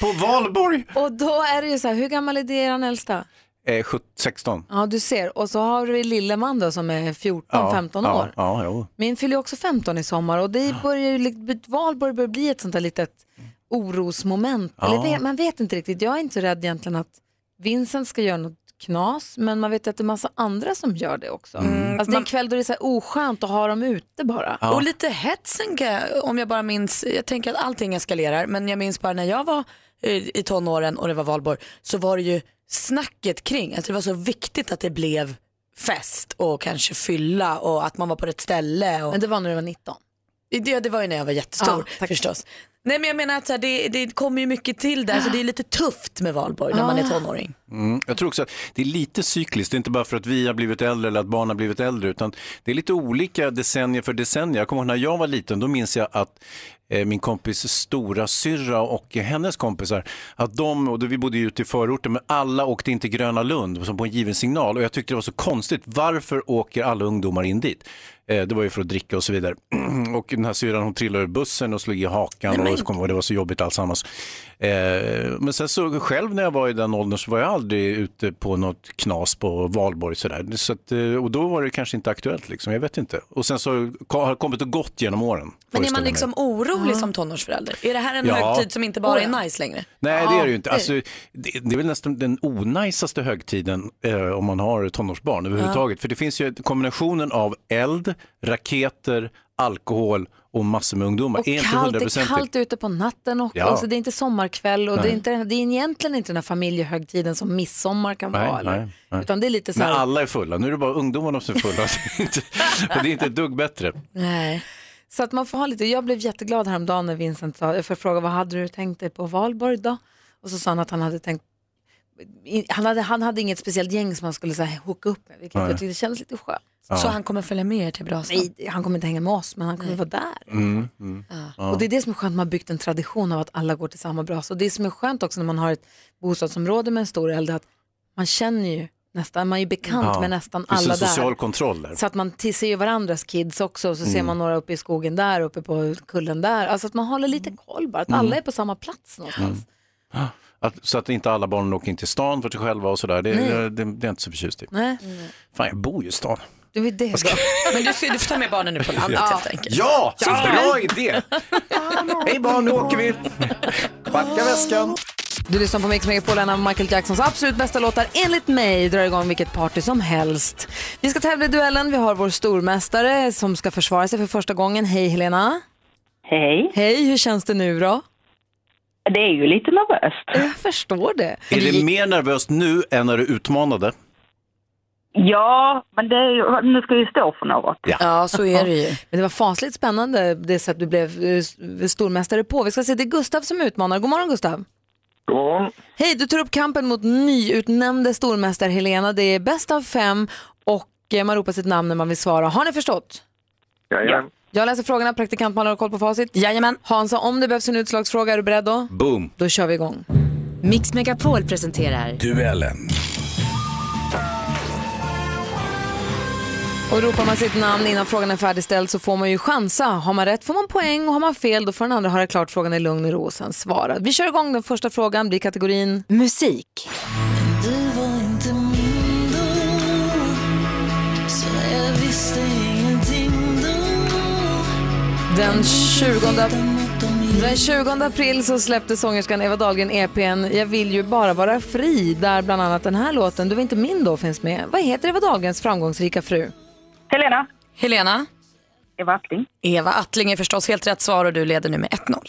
Speaker 3: På valborg?
Speaker 1: och då är det ju så här, hur gammal är deran äldsta?
Speaker 3: Eh, 17, 16.
Speaker 1: Ja, du ser. Och så har vi lille man då som är 14-15
Speaker 3: ja, Ah.
Speaker 1: år.
Speaker 3: Ja, jo.
Speaker 1: Min fyller ju också 15 i sommar och det börjar ju, li- Valborg börjar bli ett sånt där litet orosmoment. Eller ve- man vet inte riktigt. Jag är inte så rädd egentligen att Vincent ska göra något knas, men man vet att det är massa andra som gör det också.
Speaker 3: Mm.
Speaker 1: Alltså det är en kväll då det är så här oskönt att ha dem ute bara.
Speaker 2: Och lite hetsen kan jag- om jag bara minns, jag tänker att allting eskalerar men jag minns bara när jag var eh, i i tonåren och det var valborg så var det ju snacket kring, alltså det var så viktigt att det blev fest och kanske fylla och att man var på rätt ställe. Och...
Speaker 1: Men det var när du var 19.
Speaker 2: Det, det var ju när jag var jättestor
Speaker 1: Ja, tack.
Speaker 2: förstås. Nej men jag menar att så här, det, det kommer ju mycket till där så det är lite tufft med valborg när man är tonåring.
Speaker 3: Mm. Jag tror också att det är lite cykliskt, det är inte bara för att vi har blivit äldre eller att barn har blivit äldre, utan det är lite olika decennier för decennier. Jag kommer ihåg när jag var liten, då minns jag att eh, min kompis stora syrra och eh, hennes kompisar, att de, och då vi bodde ju ute i förorten, men alla åkte in till Gröna Lund som på en given signal och jag tyckte det var så konstigt, varför åker alla ungdomar in dit? Eh, Det var ju för att dricka och så vidare. [clears throat] Och den här syrran hon trillade ur bussen och slog i hakan och så kom, och det var så jobbigt alltsammans. Eh, men sen så själv när jag var i den åldern så var jag aldrig ute på något knas på valborg sådär. Så att, eh, och då var det kanske inte aktuellt liksom, jag vet inte. Och sen så ka- har det kommit och gått genom åren.
Speaker 2: Men är
Speaker 3: föreställer
Speaker 2: man
Speaker 3: jag mig.
Speaker 2: liksom orolig som tonårsförälder? Är det här en
Speaker 3: Ja.
Speaker 2: högtid som inte bara är nice längre?
Speaker 3: Nej, det är det ju inte. Alltså, det, det är väl nästan den onajsaste högtiden eh, om man har tonårsbarn överhuvudtaget. För det finns ju kombinationen av eld, raketer, alkohol och massor med ungdomar.
Speaker 1: Och
Speaker 3: är inte
Speaker 1: kallt, det är
Speaker 3: hundraprocentigt.
Speaker 1: kallt ute på natten och
Speaker 3: Ja.
Speaker 1: och så det är inte sommarkväll och det är, inte, det är egentligen inte den här familjehögtiden som midsommar kan
Speaker 3: Nej,
Speaker 1: vara. eller?
Speaker 3: nej, nej.
Speaker 1: Utan det är lite så
Speaker 3: Men
Speaker 1: här...
Speaker 3: alla är fulla. Nu är det bara ungdomarna som är fulla. [laughs] Det är inte- och det är inte ett dugg bättre.
Speaker 2: Nej.
Speaker 1: Så att man får ha lite, jag blev jätteglad häromdagen när Vincent sa, för jag frågade vad hade du tänkt dig på valborg då? Och så sa han att han hade tänkt, i- han hade, han hade inget speciellt gäng som han skulle så här, hooka upp med, vilket
Speaker 3: Nej.
Speaker 1: jag tyckte kändes lite skönt.
Speaker 2: Så han kommer följa med er till brasan?
Speaker 1: Nej, han kommer inte hänga med oss, men han kommer vara där.
Speaker 3: Mm, mm.
Speaker 1: Och det är det som är skönt, man har byggt en tradition av att alla går till samma brasa. Och det som är skönt också när man har ett bostadsområde med en stor eld, är att man känner ju nästan, man är ju bekant
Speaker 3: Ja.
Speaker 1: med nästan
Speaker 3: Det finns
Speaker 1: alla
Speaker 3: en
Speaker 1: där.
Speaker 3: social kontroll där.
Speaker 1: Så att man t- ser ju varandras kids också och så ser man några uppe i skogen där, uppe på kullen där. Alltså att man håller lite
Speaker 2: Mm.
Speaker 1: koll bara, att alla är på samma plats någonstans.
Speaker 3: Att, så att inte alla barnen åker in till stan för sig själva och sådär. Det, det, det, det är inte så förtjust i.
Speaker 1: Nej,
Speaker 2: Mm.
Speaker 3: Fan, jag bor ju i stan.
Speaker 1: det var det då.
Speaker 2: Men du, ska- du får ta med barnen nu på landet helt enkelt.
Speaker 3: Ja, bra
Speaker 1: [laughs]
Speaker 3: idé! Hej barn, nu åker vi!
Speaker 9: Packa väskan.
Speaker 1: Du lyssnar på Mix Megapol, en av Michael Jacksons absolut bästa låtar enligt mig drar igång vilket party som helst. Vi ska tävla i duellen, vi har vår stormästare som ska försvara sig för första gången. Hej Helena!
Speaker 6: Hej.
Speaker 1: Hej, hur känns det nu då?
Speaker 6: Det är ju lite nervöst.
Speaker 1: Jag förstår det.
Speaker 3: Är det mer nervöst nu än när du utmanade?
Speaker 6: Ja, men det är ju, nu ska jag ju stå för något.
Speaker 2: Ja, så är det ju.
Speaker 1: Men det var fasligt spännande det sätt du blev eh, stormästare på. Vi ska se, det är Gustav som utmanar. God morgon Gustav!
Speaker 7: God morgon.
Speaker 1: Hej, du tar upp kampen mot nyutnämnde stormästare Helena. Det är bäst av fem och eh, man ropar sitt namn när man vill svara. Har ni förstått?
Speaker 7: Jajamän.
Speaker 1: Jag läser frågorna, praktikant Malin har koll på facit. Jajamän. Hansa, om det behövs en utslagsfråga, är du beredd då?
Speaker 3: Boom!
Speaker 1: Då kör vi igång.
Speaker 8: Mix Megapol presenterar
Speaker 9: Duellen.
Speaker 1: Och ropar man sitt namn innan frågan är färdigställd så får man ju chansa. Har man rätt får man poäng och har man fel då får den andra höra klart frågan i lugn och ro och sen svara. Vi kör igång den första frågan, blir kategorin
Speaker 8: musik.
Speaker 1: Den 20 Den 20 april så släppte sångerskan Eva Dahlgren EPn Jag vill ju bara vara fri där bland annat den här låten, Du var inte min då, finns med. Vad heter Eva Dahlgrens framgångsrika fru?
Speaker 2: Helena. Helena.
Speaker 6: Eva Attling.
Speaker 2: Eva Attling är förstås helt rätt svar och du leder nu med 1-0.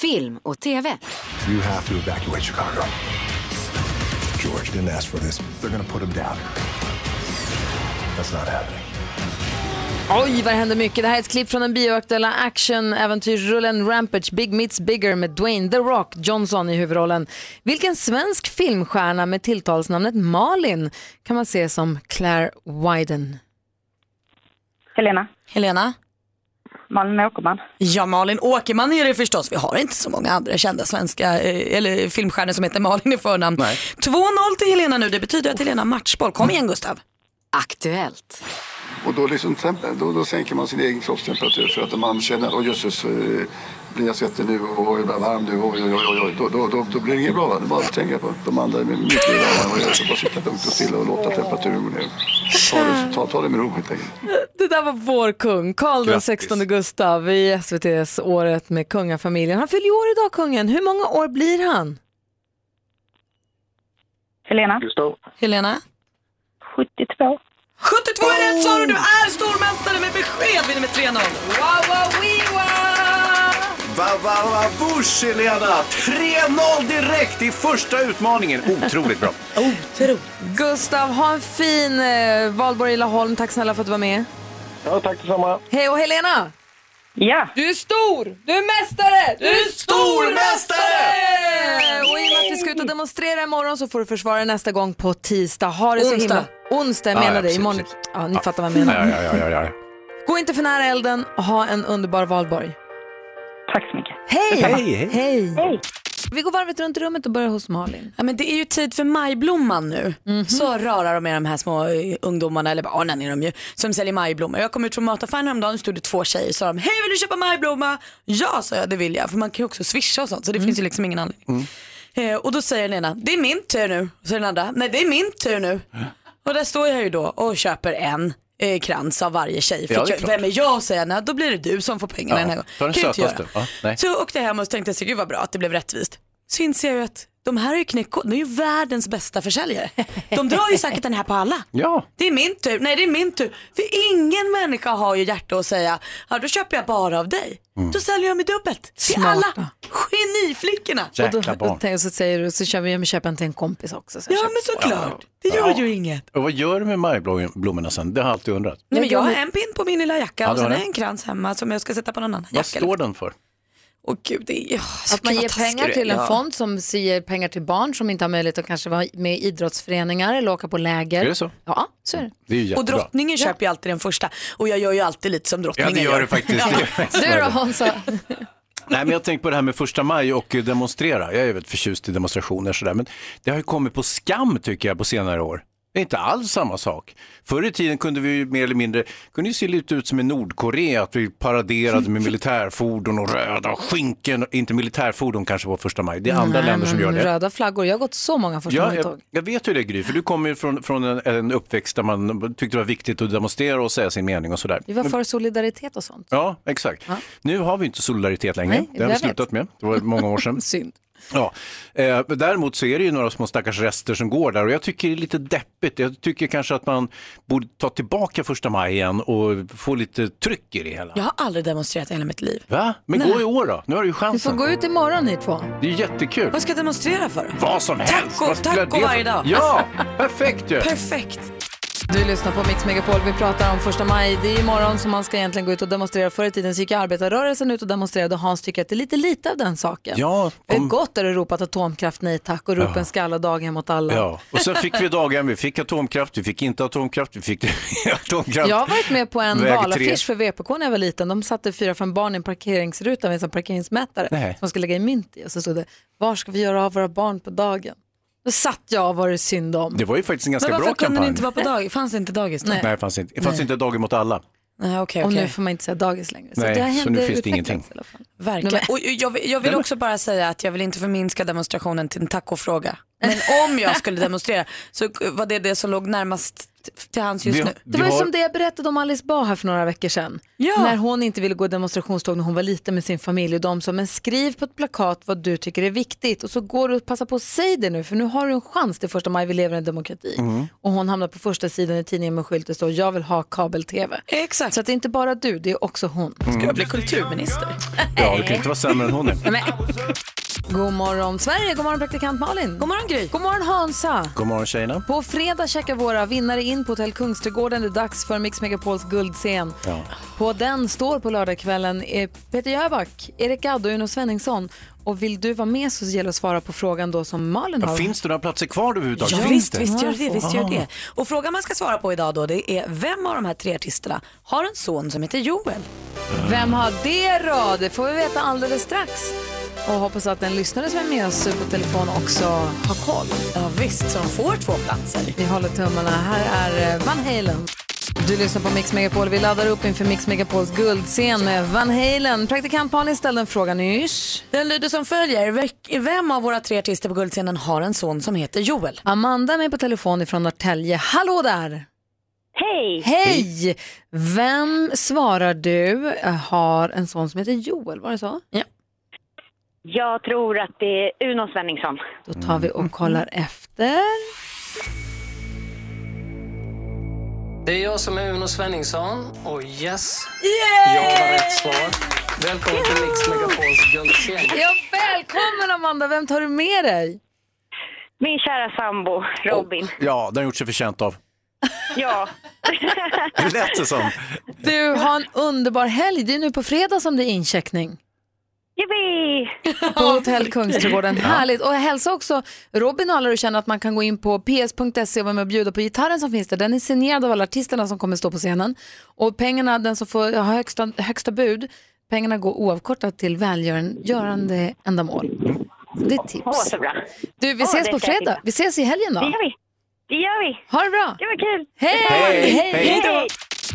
Speaker 8: Film och TV.
Speaker 10: You have to evacuate Chicago. George didn't ask for this. They're going to put him down. That's not happening.
Speaker 1: Oj, vad det händer mycket. Det här är ett klipp från den bioaktuella actionäventyrsrullen Rampage Big Meets Bigger med Dwayne The Rock Johnson i huvudrollen. Vilken svensk filmstjärna med tilltalsnamnet Malin kan man se som Claire Wyden?
Speaker 6: Helena.
Speaker 2: Helena.
Speaker 6: Malin Åkerman.
Speaker 2: Ja, Malin Åkerman är det förstås. Vi har inte så många andra kända svenska eh, eller filmstjärnor som heter Malin i förnamn. 2-0 till Helena nu. Det betyder att Helena har matchboll. Kom igen Gustav.
Speaker 8: Aktuellt.
Speaker 11: Och då, liksom, temp- då, då sänker man sin egen kroppstemperatur för att om man känner att jösses, eh, blir jag svettig nu och jag blir varm nu, oj, oj, oj, oj, då, då, då, då blir det inget bra. Va? Det är bara att tänka på att de andra är mycket varmare än vad jag är. Så bara sitta lugnt och stilla och låta temperaturen gå ner. Ta det, ta, ta det med ro helt enkelt.
Speaker 1: Det där var vår kung, Karl den
Speaker 11: Grattis.
Speaker 1: 16 Gustav i SVTs Året med kungafamiljen. Han fyller ju år idag, kungen. Hur många år blir han?
Speaker 6: Helena.
Speaker 11: Gustav.
Speaker 2: Helena.
Speaker 6: 72.
Speaker 2: 72 är rätt svar och du är stormästare med besked. Vinner med 3-0. Wow, wow, wee, wow.
Speaker 3: Va, va, va, bush, Helena! 3-0 direkt i första utmaningen. Otroligt bra.
Speaker 1: Gustav, ha en fin eh, valborg i Laholm. Tack snälla för att du var med.
Speaker 11: Ja, tack detsamma.
Speaker 1: Hej och Helena!
Speaker 6: Ja.
Speaker 1: Du är stor! Du är mästare! Du är stormästare! Och i och med att vi ska ut och demonstrera imorgon så får du försvara nästa gång på tisdag. Ha det så
Speaker 2: Onsdag.
Speaker 1: himla... Onsdag.
Speaker 3: Ja,
Speaker 1: Jag menar
Speaker 3: ja,
Speaker 1: det.
Speaker 3: precis,
Speaker 1: Imorgon...
Speaker 3: precis.
Speaker 1: Ja, ni fattar vad jag menar.
Speaker 3: Ja, ja, ja,
Speaker 1: [laughs]
Speaker 3: ja, ja.
Speaker 1: Gå inte för nära elden och ha en underbar valborg. Tack så mycket. Hej!
Speaker 2: Detsamma. Hej,
Speaker 1: hej. Vi går varvet runt i rummet och börjar hos Malin.
Speaker 2: Ja, men det är ju tid för majblomman nu.
Speaker 3: Mhm.
Speaker 2: Så rara de är de här små eh, ungdomarna, eller barnen är de ju, som säljer majblommor. Jag kom ut från mataffären häromdagen och stod det två tjejer sa de, hej vill du köpa majblomma? Ja, sa jag, det vill jag. För man kan ju också swisha och sånt,
Speaker 3: Mm.
Speaker 2: så det finns ju liksom ingen anledning. Eh, och då säger den ena, det är min tur nu. Och så den andra, nej det är min tur nu.
Speaker 3: Äh.
Speaker 2: Och där står jag ju då och köper en eh, krans av varje tjej. För
Speaker 3: Ja, det är
Speaker 2: jag-
Speaker 3: klart.
Speaker 2: vem är jag att säga, nej då blir det du som får pengarna den här gången.
Speaker 3: ta den
Speaker 2: Kan jag inte göra.
Speaker 3: sötaste. Ja, nej.
Speaker 2: Så jag åkte hem och så tänkte jag, så gud vad bra att det blev rättvist. Så inser jag ju att de här är ju knäckkoden, de är ju världens bästa försäljare. De drar ju säkert den här på alla.
Speaker 3: Ja.
Speaker 2: Det är min tur, nej det är min tur. För ingen människa har ju hjärta att säga, ja då köper jag bara av dig.
Speaker 3: Mm.
Speaker 2: Då säljer jag mig dubbelt till
Speaker 1: Smarta.
Speaker 2: alla geniflickorna.
Speaker 1: och då, då, [laughs] tänker- så säger du, så köper jag jag köper en till en kompis också. Så jag
Speaker 2: Ja
Speaker 1: köper-
Speaker 2: men såklart, det
Speaker 3: Ja.
Speaker 2: gör ju inget.
Speaker 3: Och vad gör du med majblommorna sen? Det har jag alltid undrat.
Speaker 2: Nej, men jag har en pin på min lilla jacka
Speaker 3: Ja,
Speaker 2: och
Speaker 3: du har
Speaker 2: sen har
Speaker 3: det.
Speaker 2: jag en krans hemma som jag ska sätta på någon annan
Speaker 3: Vad
Speaker 2: jacka.
Speaker 3: står den för?
Speaker 2: Åh gud, det är... ja,
Speaker 1: Att man
Speaker 2: gud,
Speaker 1: ger
Speaker 2: vad taskig
Speaker 1: pengar
Speaker 2: du är.
Speaker 1: till en
Speaker 2: Ja.
Speaker 1: fond som ger pengar till barn som inte har möjlighet att kanske vara med i idrottsföreningar eller åka på läger.
Speaker 2: Är det så?
Speaker 1: Ja, så är det.
Speaker 3: Det är ju
Speaker 2: Och
Speaker 3: jättebra.
Speaker 2: drottningen köper ju alltid den första och jag gör ju alltid lite som drottningen
Speaker 3: Ja,
Speaker 1: [laughs]
Speaker 3: det gör du faktiskt. Det gör du.
Speaker 1: Du då Hansa?
Speaker 3: Nej, men jag tänkte på det här med första maj och eh, demonstrera. Jag är väldigt förtjust i demonstrationer sådär, men det har ju kommit på skam tycker jag på senare år. Det är inte alls samma sak. Förr i tiden kunde vi ju mer eller mindre, kunde ju se lite ut som i Nordkorea, att vi paraderade med militärfordon och röda skinken. Inte militärfordon kanske på första maj, det är andra
Speaker 1: Nej,
Speaker 3: länder som
Speaker 1: men
Speaker 3: gör det.
Speaker 1: Röda flaggor. Jag har gått så många första
Speaker 3: Ja,
Speaker 1: maj-tåg.
Speaker 3: jag, jag vet hur det är Gry, för du kommer ju från, från en, en uppväxt där man tyckte det var viktigt att demonstrera och säga sin mening och sådär.
Speaker 1: Vi var
Speaker 3: Men-
Speaker 1: för solidaritet och sånt.
Speaker 3: Ja, exakt. Nu har vi inte solidaritet längre.
Speaker 1: Nej,
Speaker 3: det har vi
Speaker 1: jag
Speaker 3: slutat
Speaker 1: vet.
Speaker 3: med. Det var många år
Speaker 2: [laughs]
Speaker 3: sedan.
Speaker 1: Synd.
Speaker 3: Ja. Eh, men däremot så är det ju några små stackars rester som går där och jag tycker det är lite deppigt. Jag tycker kanske att man borde ta tillbaka första maj igen och få lite tryck i det hela.
Speaker 2: Jag har aldrig demonstrerat i hela mitt liv.
Speaker 3: Va? Men
Speaker 2: Nej.
Speaker 3: gå i år då, nu har du ju
Speaker 1: Vi
Speaker 3: chansen.
Speaker 1: får gå ut imorgon ni två.
Speaker 3: Det är ju jättekul.
Speaker 2: Vad ska jag demonstrera för?
Speaker 3: Vad som helst.
Speaker 2: Taco,
Speaker 3: Vad spelar
Speaker 2: taco
Speaker 3: det för-
Speaker 2: varje dag.
Speaker 3: Ja, perfekt ju.
Speaker 2: [laughs] Perfekt.
Speaker 1: Du lyssnar på Mix Megapol. Vi pratar om första maj. Det är imorgon som man ska egentligen gå ut och demonstrera. Förr i tiden så gick ju arbetarrörelsen ut och demonstrerade och Hans tycker att det är lite lite av den saken.
Speaker 3: Ja,
Speaker 1: Det är
Speaker 3: om-
Speaker 1: gott där du ropat atomkraft nej tack och ropen
Speaker 3: Ja.
Speaker 1: ska alla daghem åt alla.
Speaker 3: Ja, och sen fick vi dagen, vi fick atomkraft, vi fick inte atomkraft, vi fick [laughs] atomkraft.
Speaker 1: Jag har varit med på en
Speaker 3: Väg tre.
Speaker 1: valaffisch för VPK när jag var liten. De satte fyra, fem barn i en parkeringsruta med en sån parkeringsmätare
Speaker 3: Nej.
Speaker 1: som man skulle lägga i mynt i. Och så stod det, var ska vi göra av våra barn på dagen? Då satt jag och var det synd om.
Speaker 3: Det var ju faktiskt en ganska
Speaker 2: Men varför
Speaker 3: bra
Speaker 2: kunde
Speaker 3: kampanj.
Speaker 2: ni inte vara på dagis? Fanns det inte dagis då?
Speaker 3: Nej, det fanns inte. Det fanns
Speaker 2: Eh, Nej.
Speaker 3: inte dagen mot alla.
Speaker 2: Nej, okej,
Speaker 1: Och
Speaker 2: okej.
Speaker 1: nu får man inte säga dagis längre. Så,
Speaker 3: Nej,
Speaker 1: det har
Speaker 3: så
Speaker 1: hänt-
Speaker 3: nu
Speaker 1: det
Speaker 3: finns det
Speaker 1: utvecklas
Speaker 3: ingenting.
Speaker 1: i alla fall.
Speaker 2: Verkligen.
Speaker 1: Nej, men-
Speaker 2: Och jag, vill- jag vill också bara säga att jag vill inte förminska [laughs] demonstrationen till en tacofråga. Men om jag skulle demonstrera så var det det som låg närmast till hans just
Speaker 3: Vi-
Speaker 2: nu.
Speaker 1: Det var ju som det jag berättade om Alice Bah här för några veckor sedan. När hon inte ville gå demonstrationståg när hon var liten med sin familj och de sa, men skriv på ett plakat vad du tycker är viktigt och så går du och passar på att säga det nu för nu har du en chans till första maj, vi lever i en demokrati. Och hon hamnar på första sidan i tidningen med skylt det står, jag vill ha kabel-tv.
Speaker 2: Exakt. Mm.
Speaker 1: Så att det är inte bara du, det är också hon.
Speaker 2: Ska jag bli kulturminister?
Speaker 3: Ja, du kan inte vara sämre än hon är.
Speaker 1: Nej. God morgon Sverige, god morgon praktikant Malin. God
Speaker 2: morgon Gry.
Speaker 1: God morgon Hansa.
Speaker 3: God morgon tjejerna.
Speaker 1: På fredag checkar våra vinnare in på Hotell Kungsträdgården. Det är dags för Mix Megapols guldscen.
Speaker 3: Ja.
Speaker 1: På den står på lördagskvällen eh, Peter Jöback, Erik Gadd och Uno Svenningsson. Och vill du vara med så gäller det att svara på frågan då som Malin
Speaker 3: Ja,
Speaker 1: har.
Speaker 3: finns det några platser kvar överhuvudtaget?
Speaker 2: Ja, visst, visst gör det.
Speaker 1: Ja,
Speaker 2: Visst gör det.
Speaker 3: Ah.
Speaker 2: Och frågan man ska svara på idag då, det är vem av de här tre artisterna har en son som heter Joel?
Speaker 1: Vem har det då? Det får vi veta alldeles strax. Och hoppas att den lyssnare som är med oss på telefon också har koll.
Speaker 2: Ja visst, så de får två platser.
Speaker 1: Vi håller tummarna. Här är eh, Van Halen. Du lyssnar på Mix Megapol. Vi laddar upp inför Mix Megapols guldscen med Van Halen. Praktikant Malin ställde en fråga nyss.
Speaker 2: Den lyder som följer, Vek- vem av våra tre artister på guldscenen har en son som heter Joel?
Speaker 1: Amanda är med på telefon ifrån Norrtälje. Hallå där!
Speaker 12: Hej!
Speaker 1: Hej! Vem svarar du eh, har en son som heter Joel? Var det så? Ja.
Speaker 12: Jag tror att det är Uno Svenningsson.
Speaker 1: Då tar vi och kollar efter.
Speaker 13: Det är jag som är Uno Svenningsson och yes,
Speaker 1: Yay!
Speaker 13: jag har rätt svar. Välkommen till Mix Megapols guldscen.
Speaker 1: Ja, välkommen Amanda! Vem tar du med dig?
Speaker 12: Min kära sambo
Speaker 6: Oh.
Speaker 12: Robin.
Speaker 3: Ja, den har gjort sig förtjänt av.
Speaker 6: [laughs]
Speaker 12: Ja.
Speaker 3: Det lät det som.
Speaker 1: Du, har en underbar helg. Det är nu på fredag som det är incheckning.
Speaker 12: Yippee!
Speaker 1: På Hotell Kungsträdgården.
Speaker 12: Ja.
Speaker 1: Härligt. Och hälsa också Robin och alla du känner att man kan gå in på ps.se och vara med och bjuda på gitarren som finns där. Den är signerad av alla artisterna som kommer stå på scenen. Och pengarna, den som får ha högsta, högsta bud, pengarna går oavkortat till välgörande ändamål. Så Det är ett tips.
Speaker 12: Åh, så bra.
Speaker 1: Du, vi
Speaker 12: Åh,
Speaker 1: ses
Speaker 12: det
Speaker 1: på
Speaker 12: ska jag
Speaker 1: fredag.
Speaker 12: titta.
Speaker 1: Vi ses i helgen då.
Speaker 12: Det gör vi. Det gör vi.
Speaker 1: Ha det bra.
Speaker 12: Det var kul.
Speaker 1: Hej!
Speaker 12: Hej!
Speaker 1: Hej
Speaker 12: Hej
Speaker 1: då!
Speaker 12: då!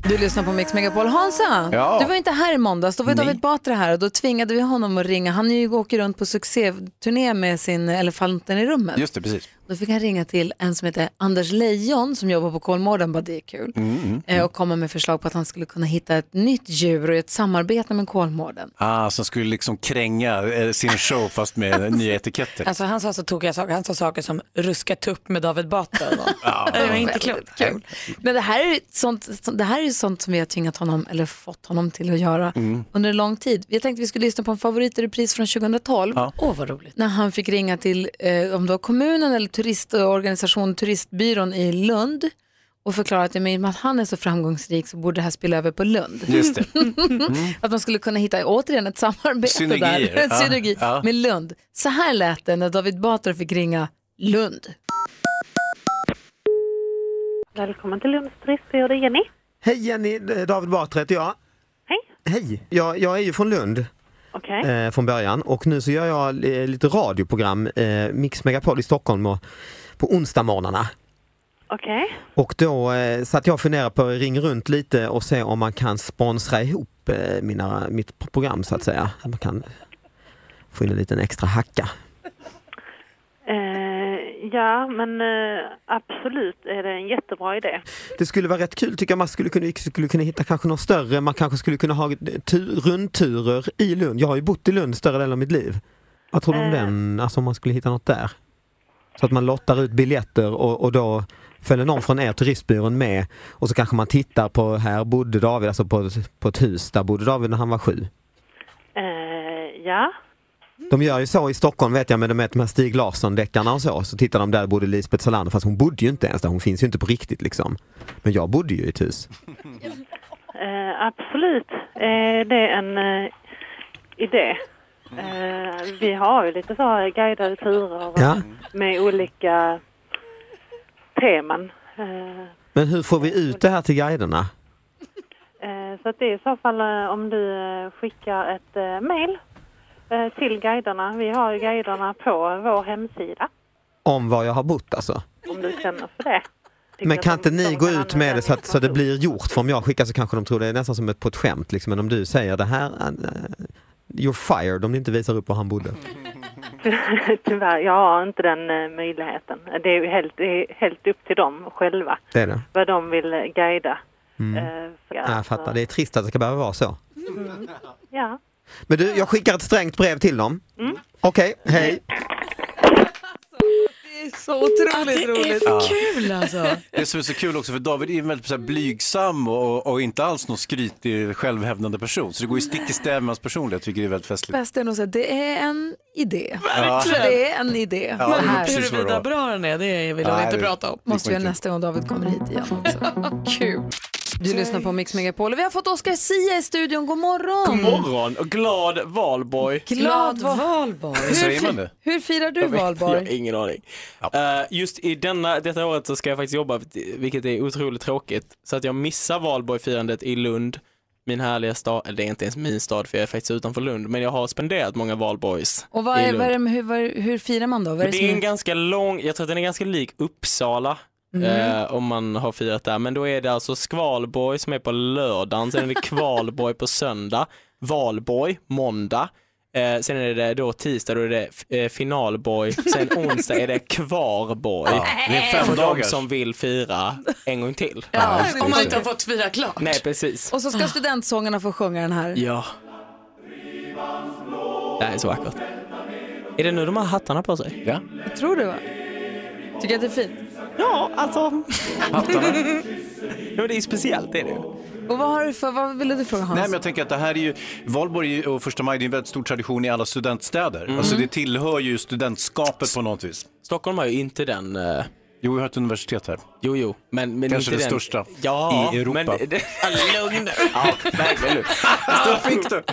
Speaker 1: Du lyssnar på Mix Megapol. Hansa,
Speaker 12: Ja.
Speaker 1: du var inte här i måndags. Då var
Speaker 12: Nej.
Speaker 1: David Batra här och då tvingade vi honom att ringa. Han är ju åker runt på succéturné med sin Elefanten i rummet.
Speaker 3: Just det, precis.
Speaker 1: Då fick han ringa till en som heter Anders Leijon som jobbar på Kolmården. Bara, det är kul.
Speaker 3: Mm.
Speaker 1: Eh, Och komma med förslag på att han skulle kunna hitta ett nytt djur och ett samarbete med Kolmården.
Speaker 3: Ah, som skulle liksom kränga eh, sin show fast med nya etiketter.
Speaker 2: Alltså han sa så tokiga saker, han sa saker som ruska tupp med David Batra.
Speaker 3: [laughs] Ja.
Speaker 2: Det var inte klokt.
Speaker 1: Kul. Men det här, är sånt, så- det här är ju sånt som vi har tvingat honom, eller fått honom till att göra
Speaker 2: Mm.
Speaker 1: under lång tid. Vi tänkte vi skulle lyssna på en favorit i repris från 2012.
Speaker 2: Ja. Åh, vad roligt.
Speaker 1: När han fick ringa till, eh, om det var kommunen eller turistorganisationen, turistbyrån i Lund och förklara att i och med att han är så framgångsrik så borde det här spilla över på Lund.
Speaker 4: Just det.
Speaker 1: att man skulle kunna hitta återigen ett samarbete
Speaker 4: Synergier,
Speaker 1: [laughs] där, en
Speaker 4: ja,
Speaker 1: synergi
Speaker 4: ja.
Speaker 1: med Lund. Så här lät det när David Batra fick ringa Lund.
Speaker 14: Välkommen till Lunds turistbyrå, det är Jenny.
Speaker 15: Hej Jenny, Eh, David Batra heter jag.
Speaker 14: Hej.
Speaker 15: Hej. Jag, jag är ju från Lund
Speaker 14: Okej.
Speaker 15: eh, från början och nu så gör jag eh, lite radioprogram, eh, Mix Megapol i Stockholm och, på onsdagsmorgnarna.
Speaker 14: Okej.
Speaker 15: Och då eh, satt jag och funderade på att ringa runt lite och se om man kan sponsra ihop eh, mina, mitt program så att säga. Att Man kan få in en liten extra hacka.
Speaker 14: Eh, ja, men eh, absolut är det en jättebra idé.
Speaker 15: Det skulle vara rätt kul tycker jag, man skulle kunna, skulle kunna hitta kanske något större, man kanske skulle kunna ha tur, rundturer i Lund. Jag har ju bott i Lund större delen av mitt liv. Vad tror du om
Speaker 14: Eh.
Speaker 15: den, alltså om man skulle hitta något där? Så att man lottar ut biljetter och, och då följer någon från er turistbyrån med och så kanske man tittar på, här bodde David, alltså på, ett- på ett hus, där bodde David när han var sju.
Speaker 14: Eh, ja.
Speaker 15: De gör ju så i Stockholm vet jag med de, med de här Stig Larsson-deckarna och så, så tittar de där bodde Lisbeth Salander fast hon bodde ju inte ens där, hon finns ju inte på riktigt liksom. Men jag bodde ju i ett hus.
Speaker 14: [laughs] Eh, absolut är det en eh, idé. Eh, vi har ju lite så här guidade turer
Speaker 15: Ja.
Speaker 14: med olika teman. Eh,
Speaker 15: Men hur får vi ut det här till guiderna?
Speaker 14: Eh, Så att det är i så fall eh, om du eh, skickar ett eh, mail eh, till guiderna. Vi har ju guiderna på vår hemsida
Speaker 15: Om var jag har bott alltså?
Speaker 14: om du känner för det. Tycker
Speaker 15: Men kan
Speaker 14: att
Speaker 15: inte ni gå ut med det så att så det blir gjort? För om jag skickar så kanske de tror det är nästan som ett, på ett skämt liksom. Men om du säger det här, eh, you're fired om ni inte visar upp var han bodde.
Speaker 14: Ty- [laughs] Tyvärr, jag har inte den eh, möjligheten. Det är ju helt, det är helt upp till dem själva
Speaker 15: Det är det.
Speaker 14: vad de vill eh, guida.
Speaker 15: Mm.
Speaker 14: Eh, för-
Speaker 15: Ja, jag fattar, det är trist att det ska behöva vara så.
Speaker 14: Mm. Ja.
Speaker 15: Men du, jag skickar ett strängt brev till dem.
Speaker 14: Mm.
Speaker 15: Okej, hej.
Speaker 2: Så otroligt roligt. Det är för
Speaker 3: Ja.
Speaker 2: kul alltså.
Speaker 3: Det som är så kul också för David är ju väldigt så här blygsam och, och inte alls någon skrytig självhävdande person. Så det går ju stick i stäv med hans personlighet vilket är väldigt festligt.
Speaker 1: Bäst är nog att säga, det är en idé.
Speaker 3: Ja.
Speaker 1: Så det är en idé.
Speaker 3: Ja, det var precis vad det
Speaker 2: Huruvida
Speaker 3: var.
Speaker 2: bra den är, det vill jag
Speaker 3: Nej,
Speaker 2: inte
Speaker 3: det-
Speaker 2: prata om.
Speaker 1: Måste vi göra nästa gång David kommer hit igen
Speaker 16: [laughs]
Speaker 1: också. Kul. Du lyssnar på Mix Megapol och vi har fått Oscar Sia i studion. God morgon!
Speaker 16: God morgon och glad valborg.
Speaker 1: Glad valborg.
Speaker 16: Hur säger man det?
Speaker 1: Hur firar du
Speaker 16: Jag vet- Jag
Speaker 1: valborg?
Speaker 16: har ingen aning. Eh, just i denna, detta året så ska jag faktiskt jobba, vilket är otroligt tråkigt, så att jag missar valborgfirandet i Lund, min härliga stad, eller det är inte ens min stad för jag är faktiskt utanför Lund, men jag har spenderat många valborgs
Speaker 1: Och vad
Speaker 16: i
Speaker 1: är,
Speaker 16: Lund.
Speaker 1: vad är, det- hur, vad är, hur firar man då? Vad är
Speaker 16: Men det
Speaker 1: det som
Speaker 16: är en
Speaker 1: är...
Speaker 16: ganska lång, jag tror att den är ganska lik Uppsala.
Speaker 1: Mm.
Speaker 16: Eh, om man har firat där, men då är det alltså Skvalborg som är på lördagen, sen är det Kvalborg på söndag, Valborg måndag, eh, sen är det då tisdag, då är det f- eh, Finalborg, sen onsdag är det Kvarborg.
Speaker 3: Ja, det är fem
Speaker 16: för de
Speaker 3: dagars.
Speaker 16: som vill fira en gång till.
Speaker 1: Ja,
Speaker 2: Om man inte har fått fira klart.
Speaker 16: Nej, precis.
Speaker 1: Och så ska studentsångarna få sjunga den här.
Speaker 16: Ah. Ja. Det här är så vackert. Är det nu de har hattarna på sig?
Speaker 3: Ja.
Speaker 1: Jag tror du va? Tycker att det är fint?
Speaker 16: Ja, alltså. Ja, men det är speciellt, det är det ju.
Speaker 1: och vad har du för, vad ville du fråga Hans?
Speaker 3: Nej,
Speaker 16: Alltså-
Speaker 3: men jag tänker att det här är ju, Valborg är ju- och första maj det är en väldigt stor tradition i alla studentstäder.
Speaker 16: Mm.
Speaker 3: Alltså det tillhör ju studentskapet på något vis.
Speaker 16: Stockholm har ju inte den... eh,
Speaker 3: Jo, vi har ett universitet här.
Speaker 16: Jo, jo, men, men
Speaker 3: Kanske
Speaker 16: inte
Speaker 3: det
Speaker 16: den...
Speaker 3: största
Speaker 16: ja,
Speaker 3: i Europa.
Speaker 16: Men, det... Lugn nu. Ja, verkligen nu. Stockholm-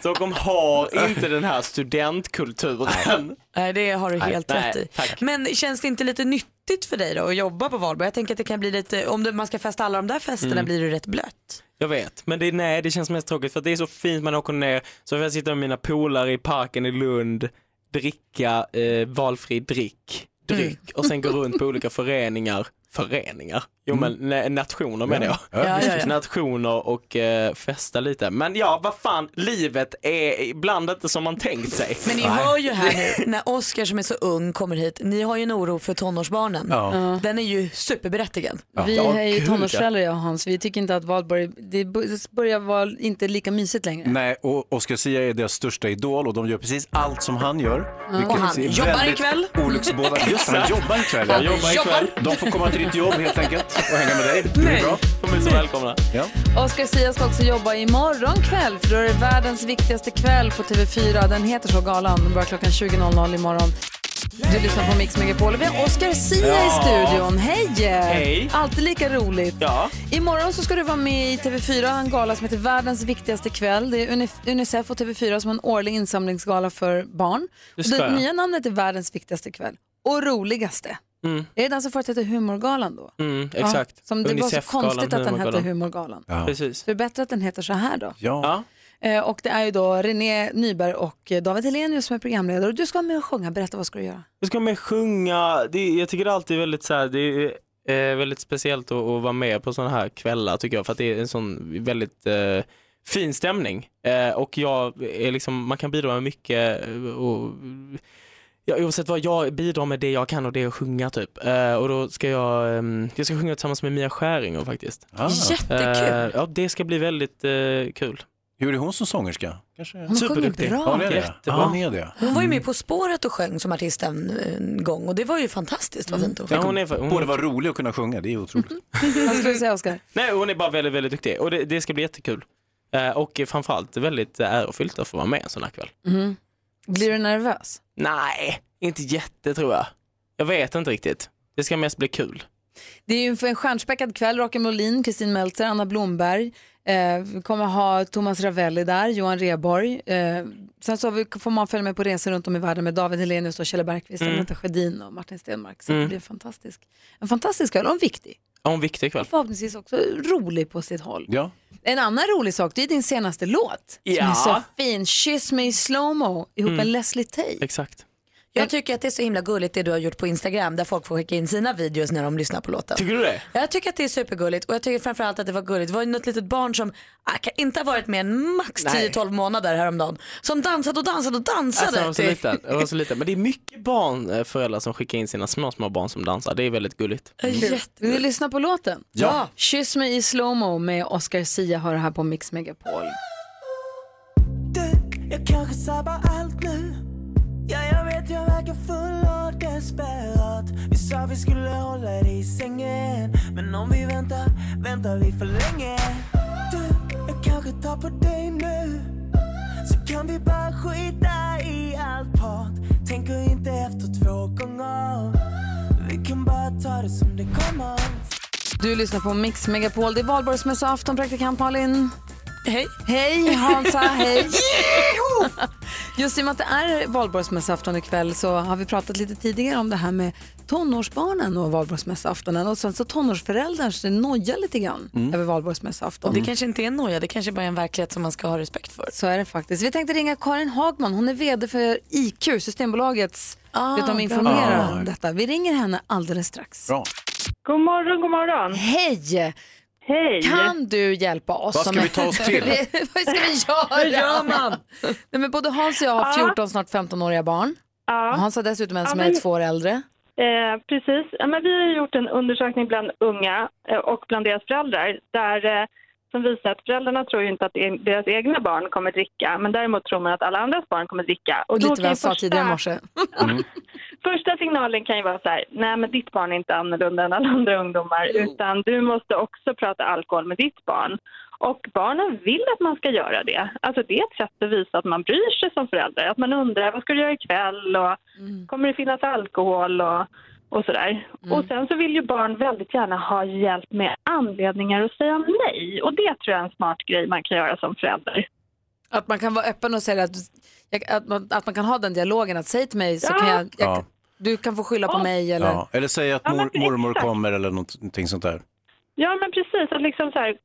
Speaker 16: Stockholm har inte den här studentkulturen.
Speaker 2: Nej, det har du
Speaker 16: Nej,
Speaker 2: helt
Speaker 16: nej,
Speaker 2: rätt i.
Speaker 16: tack.
Speaker 2: Men känns det inte lite nyttigt för dig då att jobba på valborg? Jag tänker att det kan bli lite, om du, man ska festa alla de där festerna
Speaker 16: Mm.
Speaker 2: blir du rätt blöt.
Speaker 16: Jag vet, men det, är- nej, det känns mest tråkigt för att det är så fint, man åker ner, så får jag sitta med mina polare i parken i Lund, dricka eh, valfri drick, dryck och sen gå runt på olika föreningar, föreningar, jo
Speaker 3: Mm.
Speaker 16: men nej, nationer menar jag.
Speaker 3: Ja, ja, Ja, ja, ja.
Speaker 16: Nationer och eh, festa lite. Men ja, vad fan, livet är ibland inte som man tänkt sig.
Speaker 2: Men ni hör ju här nu, när Oscar som är så ung kommer hit, ni har ju en oro för tonårsbarnen.
Speaker 16: Ja. Ja.
Speaker 2: Den är ju superberättigad.
Speaker 1: Vi är ju tonårsföräldrar jag och Hans, vi tycker inte att valborg, det bo- börjar vara inte lika mysigt längre.
Speaker 3: Nej, och Oscar Sia är deras största idol och de gör precis allt som han gör.
Speaker 1: Mm.
Speaker 3: vilket
Speaker 1: Och han
Speaker 3: är
Speaker 1: jobbar
Speaker 3: väldigt
Speaker 1: ikväll.
Speaker 3: Olycksbådande. Just det, han jobbar ikväll. ja.
Speaker 16: Han jobbar ikväll.
Speaker 3: De får komma till ditt jobb helt enkelt och hänga med dig. Det
Speaker 16: Nej.
Speaker 3: är bra.
Speaker 16: De är så välkomna.
Speaker 3: Ja.
Speaker 1: Oscar Sia ska också jobba imorgon kväll för då är det världens viktigaste kväll på TV4. Den heter så galan, den börjar klockan 20.00 imorgon. Du lyssnar på Mix Megapol och vi har Oscar Sia i
Speaker 4: Ja.
Speaker 1: studion. Hej!
Speaker 4: Hej.
Speaker 1: Alltid lika roligt.
Speaker 16: Ja.
Speaker 1: Imorgon så ska du vara med i TV4, en gala som heter Världens viktigaste kväll. Det är Uni- Unicef och TV4 som har en årlig insamlingsgala för barn.
Speaker 16: Det
Speaker 1: och
Speaker 16: ska
Speaker 1: det
Speaker 16: jag.
Speaker 1: nya namnet är Världens viktigaste kväll och roligaste.
Speaker 16: Mm,
Speaker 1: Det är den som förut hette Humorgalan då.
Speaker 16: mm, exakt.
Speaker 1: Ja, som det var så
Speaker 16: Unicef-galan,
Speaker 1: konstigt att den hette
Speaker 16: Humorgalan.
Speaker 1: Humorgalan.
Speaker 16: Precis.
Speaker 1: Så det är bättre att den heter så här då.
Speaker 16: Ja.
Speaker 1: Eh, och det är ju då René Nyberg och eh, David Helenius som är programledare. Och du ska vara med och sjunga. Berätta, vad ska du [laughs] göra?
Speaker 16: Jag ska med sjunga, det, är- jag tycker det alltid är väldigt så här, det är eh, väldigt speciellt att, att vara med på sådana här kvällar tycker jag för att det är en sån väldigt eh, fin stämning eh, och jag är liksom, man kan bidra med mycket eh, och Ja, oavsett vad, jag bidrar med det jag kan och det jag sjunga typ. Eh, och då ska jag, ehm, jag ska sjunga tillsammans med Mia Skäringer faktiskt.
Speaker 3: Ah.
Speaker 16: Eh, ja, det ska bli väldigt eh, kul.
Speaker 3: Hur är hon som sångerska? Kanske.
Speaker 2: Hon sjunger bra.
Speaker 3: Ja, det är det.
Speaker 16: Jättebra.
Speaker 3: Ja, hon är det.
Speaker 2: Hon var
Speaker 16: Mm.
Speaker 2: ju med På spåret och sjöng som artist en, en gång och det var ju fantastiskt vad fint hon
Speaker 16: Mm. Ja,
Speaker 2: sjöng.
Speaker 16: hon är, hon...
Speaker 3: Borde vara rolig att kunna sjunga, det är otroligt.
Speaker 16: Mm.
Speaker 1: Vad ska du säga, Oskar?
Speaker 16: Nej, hon är bara väldigt, väldigt duktig och det, det ska bli jättekul. Eh, och framförallt väldigt eh, ärofyllt att få vara med en sån här kväll.
Speaker 1: Mhm. Blir du nervös?
Speaker 16: Nej, inte jätte tror jag. Jag vet inte riktigt. Det ska mest bli kul.
Speaker 1: Det är ju för en stjärnspäckad kväll. Rakel Molin, Kristin Meltzer, Anna Blomberg. Eh, vi kommer ha Thomas Ravelli där, Johan Rheborg. Eh, sen så har vi, får man följa med på resor runt om i världen med David Helenius och Kjell Bergqvist,
Speaker 16: Mm.
Speaker 1: Agneta Sjödin och Martin Stenmark. Så det
Speaker 16: Mm.
Speaker 1: blir fantastisk. en fantastisk kväll och en viktig.
Speaker 16: Ja, en viktig kväll.
Speaker 1: Förhoppningsvis också rolig på sitt håll.
Speaker 3: Ja.
Speaker 1: En annan rolig sak, det är din senaste låt. Som
Speaker 16: Ja.
Speaker 1: är så fin, Kyss mig i slowmo ihop
Speaker 16: Mm.
Speaker 1: med Leslie Tay.
Speaker 16: Exakt.
Speaker 2: Jag tycker att det är så himla gulligt det du har gjort på Instagram där folk får skicka in sina videos när de lyssnar på låten.
Speaker 16: Tycker du det?
Speaker 2: Jag tycker att det är supergulligt och jag tycker framförallt att det var gulligt. Det var ju något litet barn som ah, kan inte ha varit med än max
Speaker 16: Nej.
Speaker 2: 10-12 månader häromdagen. Som dansade och dansade och dansade.
Speaker 16: Alltså, jag var så
Speaker 2: Det-
Speaker 16: liten. Jag var så liten. Men det är mycket barn, eh, föräldrar som skickar in sina små, små barn som dansar. Det är väldigt gulligt.
Speaker 1: Vill du lyssna på låten?
Speaker 16: Ja. Ja.
Speaker 1: Kyss mig i slowmo med Oscar Sia har det här på Mix Megapol.
Speaker 4: Jag kanske sabbar allt nu Ja, jag vet jag verkar full och desperat Vi sa vi skulle hålla dig i sängen Men om vi väntar, väntar vi för länge Du, jag kanske tar på dig nu Så kan vi bara skita i allt prat Tänker inte efter två gånger Vi kan bara ta det som det kommer
Speaker 1: Du lyssnar på Mix Megapol. Det är valborgsmässoafton, praktikant Malin.
Speaker 2: Hej.
Speaker 1: Hej Hansa, hej. Just i och med att det är valborgsmässoafton ikväll så har vi pratat lite tidigare om det här med tonårsbarnen och valborgsmässoaftonen och sen så tonårsföräldrar så nojar lite grann
Speaker 16: Mm.
Speaker 1: över valborgsmässoafton.
Speaker 2: Det kanske inte är en noja, det kanske bara är en verklighet som man ska ha respekt för.
Speaker 1: Så är det faktiskt. Vi tänkte ringa Karin Hagman, hon är VD för IQ, Systembolagets,
Speaker 2: Ah,
Speaker 1: vet de
Speaker 2: bra.
Speaker 1: informerar
Speaker 2: Ah.
Speaker 1: om detta. Vi ringer henne alldeles strax.
Speaker 3: Bra.
Speaker 1: God morgon, god morgon. Hej!
Speaker 12: Hej!
Speaker 1: Kan du hjälpa oss?
Speaker 4: Vad ska
Speaker 1: som-
Speaker 4: vi ta oss till?
Speaker 1: [laughs] Vad ska vi göra?
Speaker 4: Hur gör man?
Speaker 1: Nej, men både Hans och jag har
Speaker 12: Ja.
Speaker 1: 14, snart 15-åriga barn.
Speaker 12: Ja.
Speaker 1: Hans har dessutom en
Speaker 12: Ja,
Speaker 1: som
Speaker 12: Ah. men-
Speaker 1: är två år äldre.
Speaker 12: Eh, precis. Ja, men vi har ju gjort en undersökning bland unga eh, och bland deras föräldrar där, eh, som visar att föräldrarna tror ju inte att e- deras egna barn kommer dricka men däremot tror man att alla andras barn kommer dricka. Och
Speaker 1: Lite
Speaker 12: kan
Speaker 1: vad
Speaker 12: ju
Speaker 1: jag sa
Speaker 12: första-
Speaker 1: tidigare i morse.
Speaker 12: Första signalen kan ju vara så här, nej men ditt barn är inte annorlunda än alla andra ungdomar utan du måste också prata alkohol med ditt barn. Och barnen vill att man ska göra det. Alltså det är ett sätt att visa att man bryr sig som förälder. Att man undrar, vad ska du göra ikväll och kommer det finnas alkohol och, och sådär. Och sen så vill ju barn väldigt gärna ha hjälp med anledningar att säga nej. Och det tror jag är en smart grej man kan göra som förälder.
Speaker 1: Att man kan vara öppen och säga att, jag- att, man, att man kan ha den dialogen, att säg till mig så kan jag, jag
Speaker 3: Ja.
Speaker 1: du kan få skylla på mig eller
Speaker 3: Ja. Eller säga att
Speaker 12: Ja, men
Speaker 3: mor, mormor
Speaker 12: exakt.
Speaker 3: kommer eller någonting sånt där.
Speaker 12: Ja, men precis. Att liksom så här,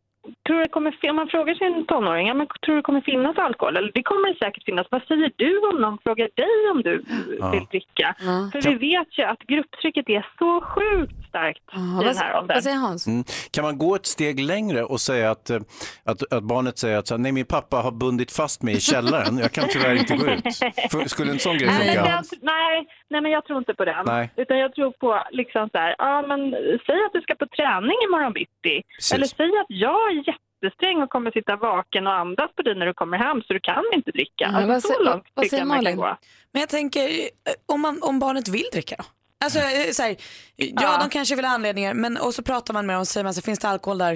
Speaker 12: tror du det kommer, fin- om man frågar sin tonåring, ja, men tror du det kommer finnas alkohol? Eller det kommer det säkert finnas. Vad säger du om någon frågar dig om du
Speaker 4: Ja.
Speaker 12: vill dricka? För vi vet ju att grupptrycket är så sjukt starkt i den här åldern.
Speaker 1: Hans?
Speaker 3: Mm. Kan man gå ett steg längre och säga att, eh, att, att barnet säger att så här, nej min pappa har bundit fast mig i källaren, jag kan tyvärr inte gå ut. F- Skulle en sån grej
Speaker 12: Nej, men
Speaker 3: funka?
Speaker 12: jag, nej, nej, men jag tror inte på den.
Speaker 3: Nej.
Speaker 12: Utan jag tror på liksom så här, ja men säg att du ska på träning imorgon bitti.
Speaker 3: Precis.
Speaker 12: Eller säg att jag är jättesträng och kommer sitta vaken och andas på dig när du kommer hem så du kan inte dricka.
Speaker 2: Ja,
Speaker 12: alltså,
Speaker 2: vad
Speaker 12: så
Speaker 2: sä-
Speaker 12: långt
Speaker 2: vad
Speaker 12: tycker
Speaker 2: säger
Speaker 12: jag man
Speaker 2: Malin?
Speaker 12: kan gå.
Speaker 2: Men jag tänker, eh, om, man, om barnet vill dricka då? Alltså eh, så här, ja, de kanske vill ha anledningar men och så pratar man med dem och säger man så här, finns det alkohol där?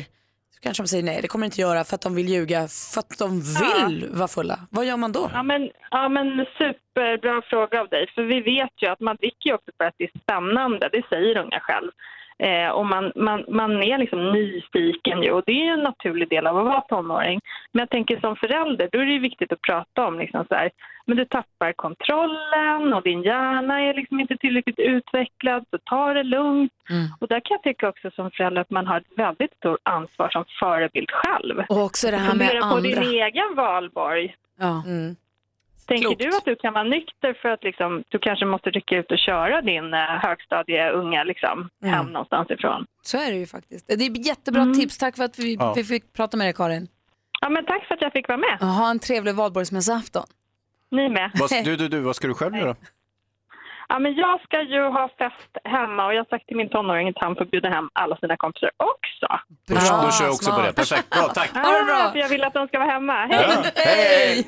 Speaker 2: Så kanske de säger nej det kommer det inte göra för att de vill ljuga för att de vill vara fulla. Vad gör man då?
Speaker 12: Ja men, ja men superbra fråga av dig. För vi vet ju att man dricker ju också för att det är spännande. Det säger unga själv. Eh, och man, man, man är liksom nyfiken ju och det är ju en naturlig del av att vara tonåring. Men jag tänker som förälder, då är det ju viktigt att prata om liksom så här, men du tappar kontrollen och din hjärna är liksom inte tillräckligt utvecklad, så ta det lugnt.
Speaker 1: Mm.
Speaker 12: Och där kan jag tycka också som förälder att man har ett väldigt stort ansvar som förebild själv.
Speaker 1: Och också det här med
Speaker 12: Fundera på din
Speaker 1: andra.
Speaker 12: egen valborg.
Speaker 1: Ja.
Speaker 12: Tänker du att du kan vara nykter för att liksom, du kanske måste rycka ut och köra din eh, högstadieunga liksom, hem
Speaker 1: Mm.
Speaker 12: någonstans ifrån?
Speaker 1: Så är det ju faktiskt. Det är jättebra tips. Tack för att vi,
Speaker 12: Ja.
Speaker 1: vi fick prata med dig Karin.
Speaker 12: Ja, men tack för att jag fick vara med.
Speaker 1: Ha en trevlig valborgsmässoafton.
Speaker 12: Ni med.
Speaker 3: Vad, du, du, du, vad ska du själv göra?
Speaker 12: Ja, men jag ska ju ha fest hemma och jag har sagt till min tonåring att han får bjuda hem alla sina kompisar också.
Speaker 3: Då, då kör jag också på det. Perfekt, bra, tack.
Speaker 12: Ah, för jag vill att de ska vara hemma. Hej!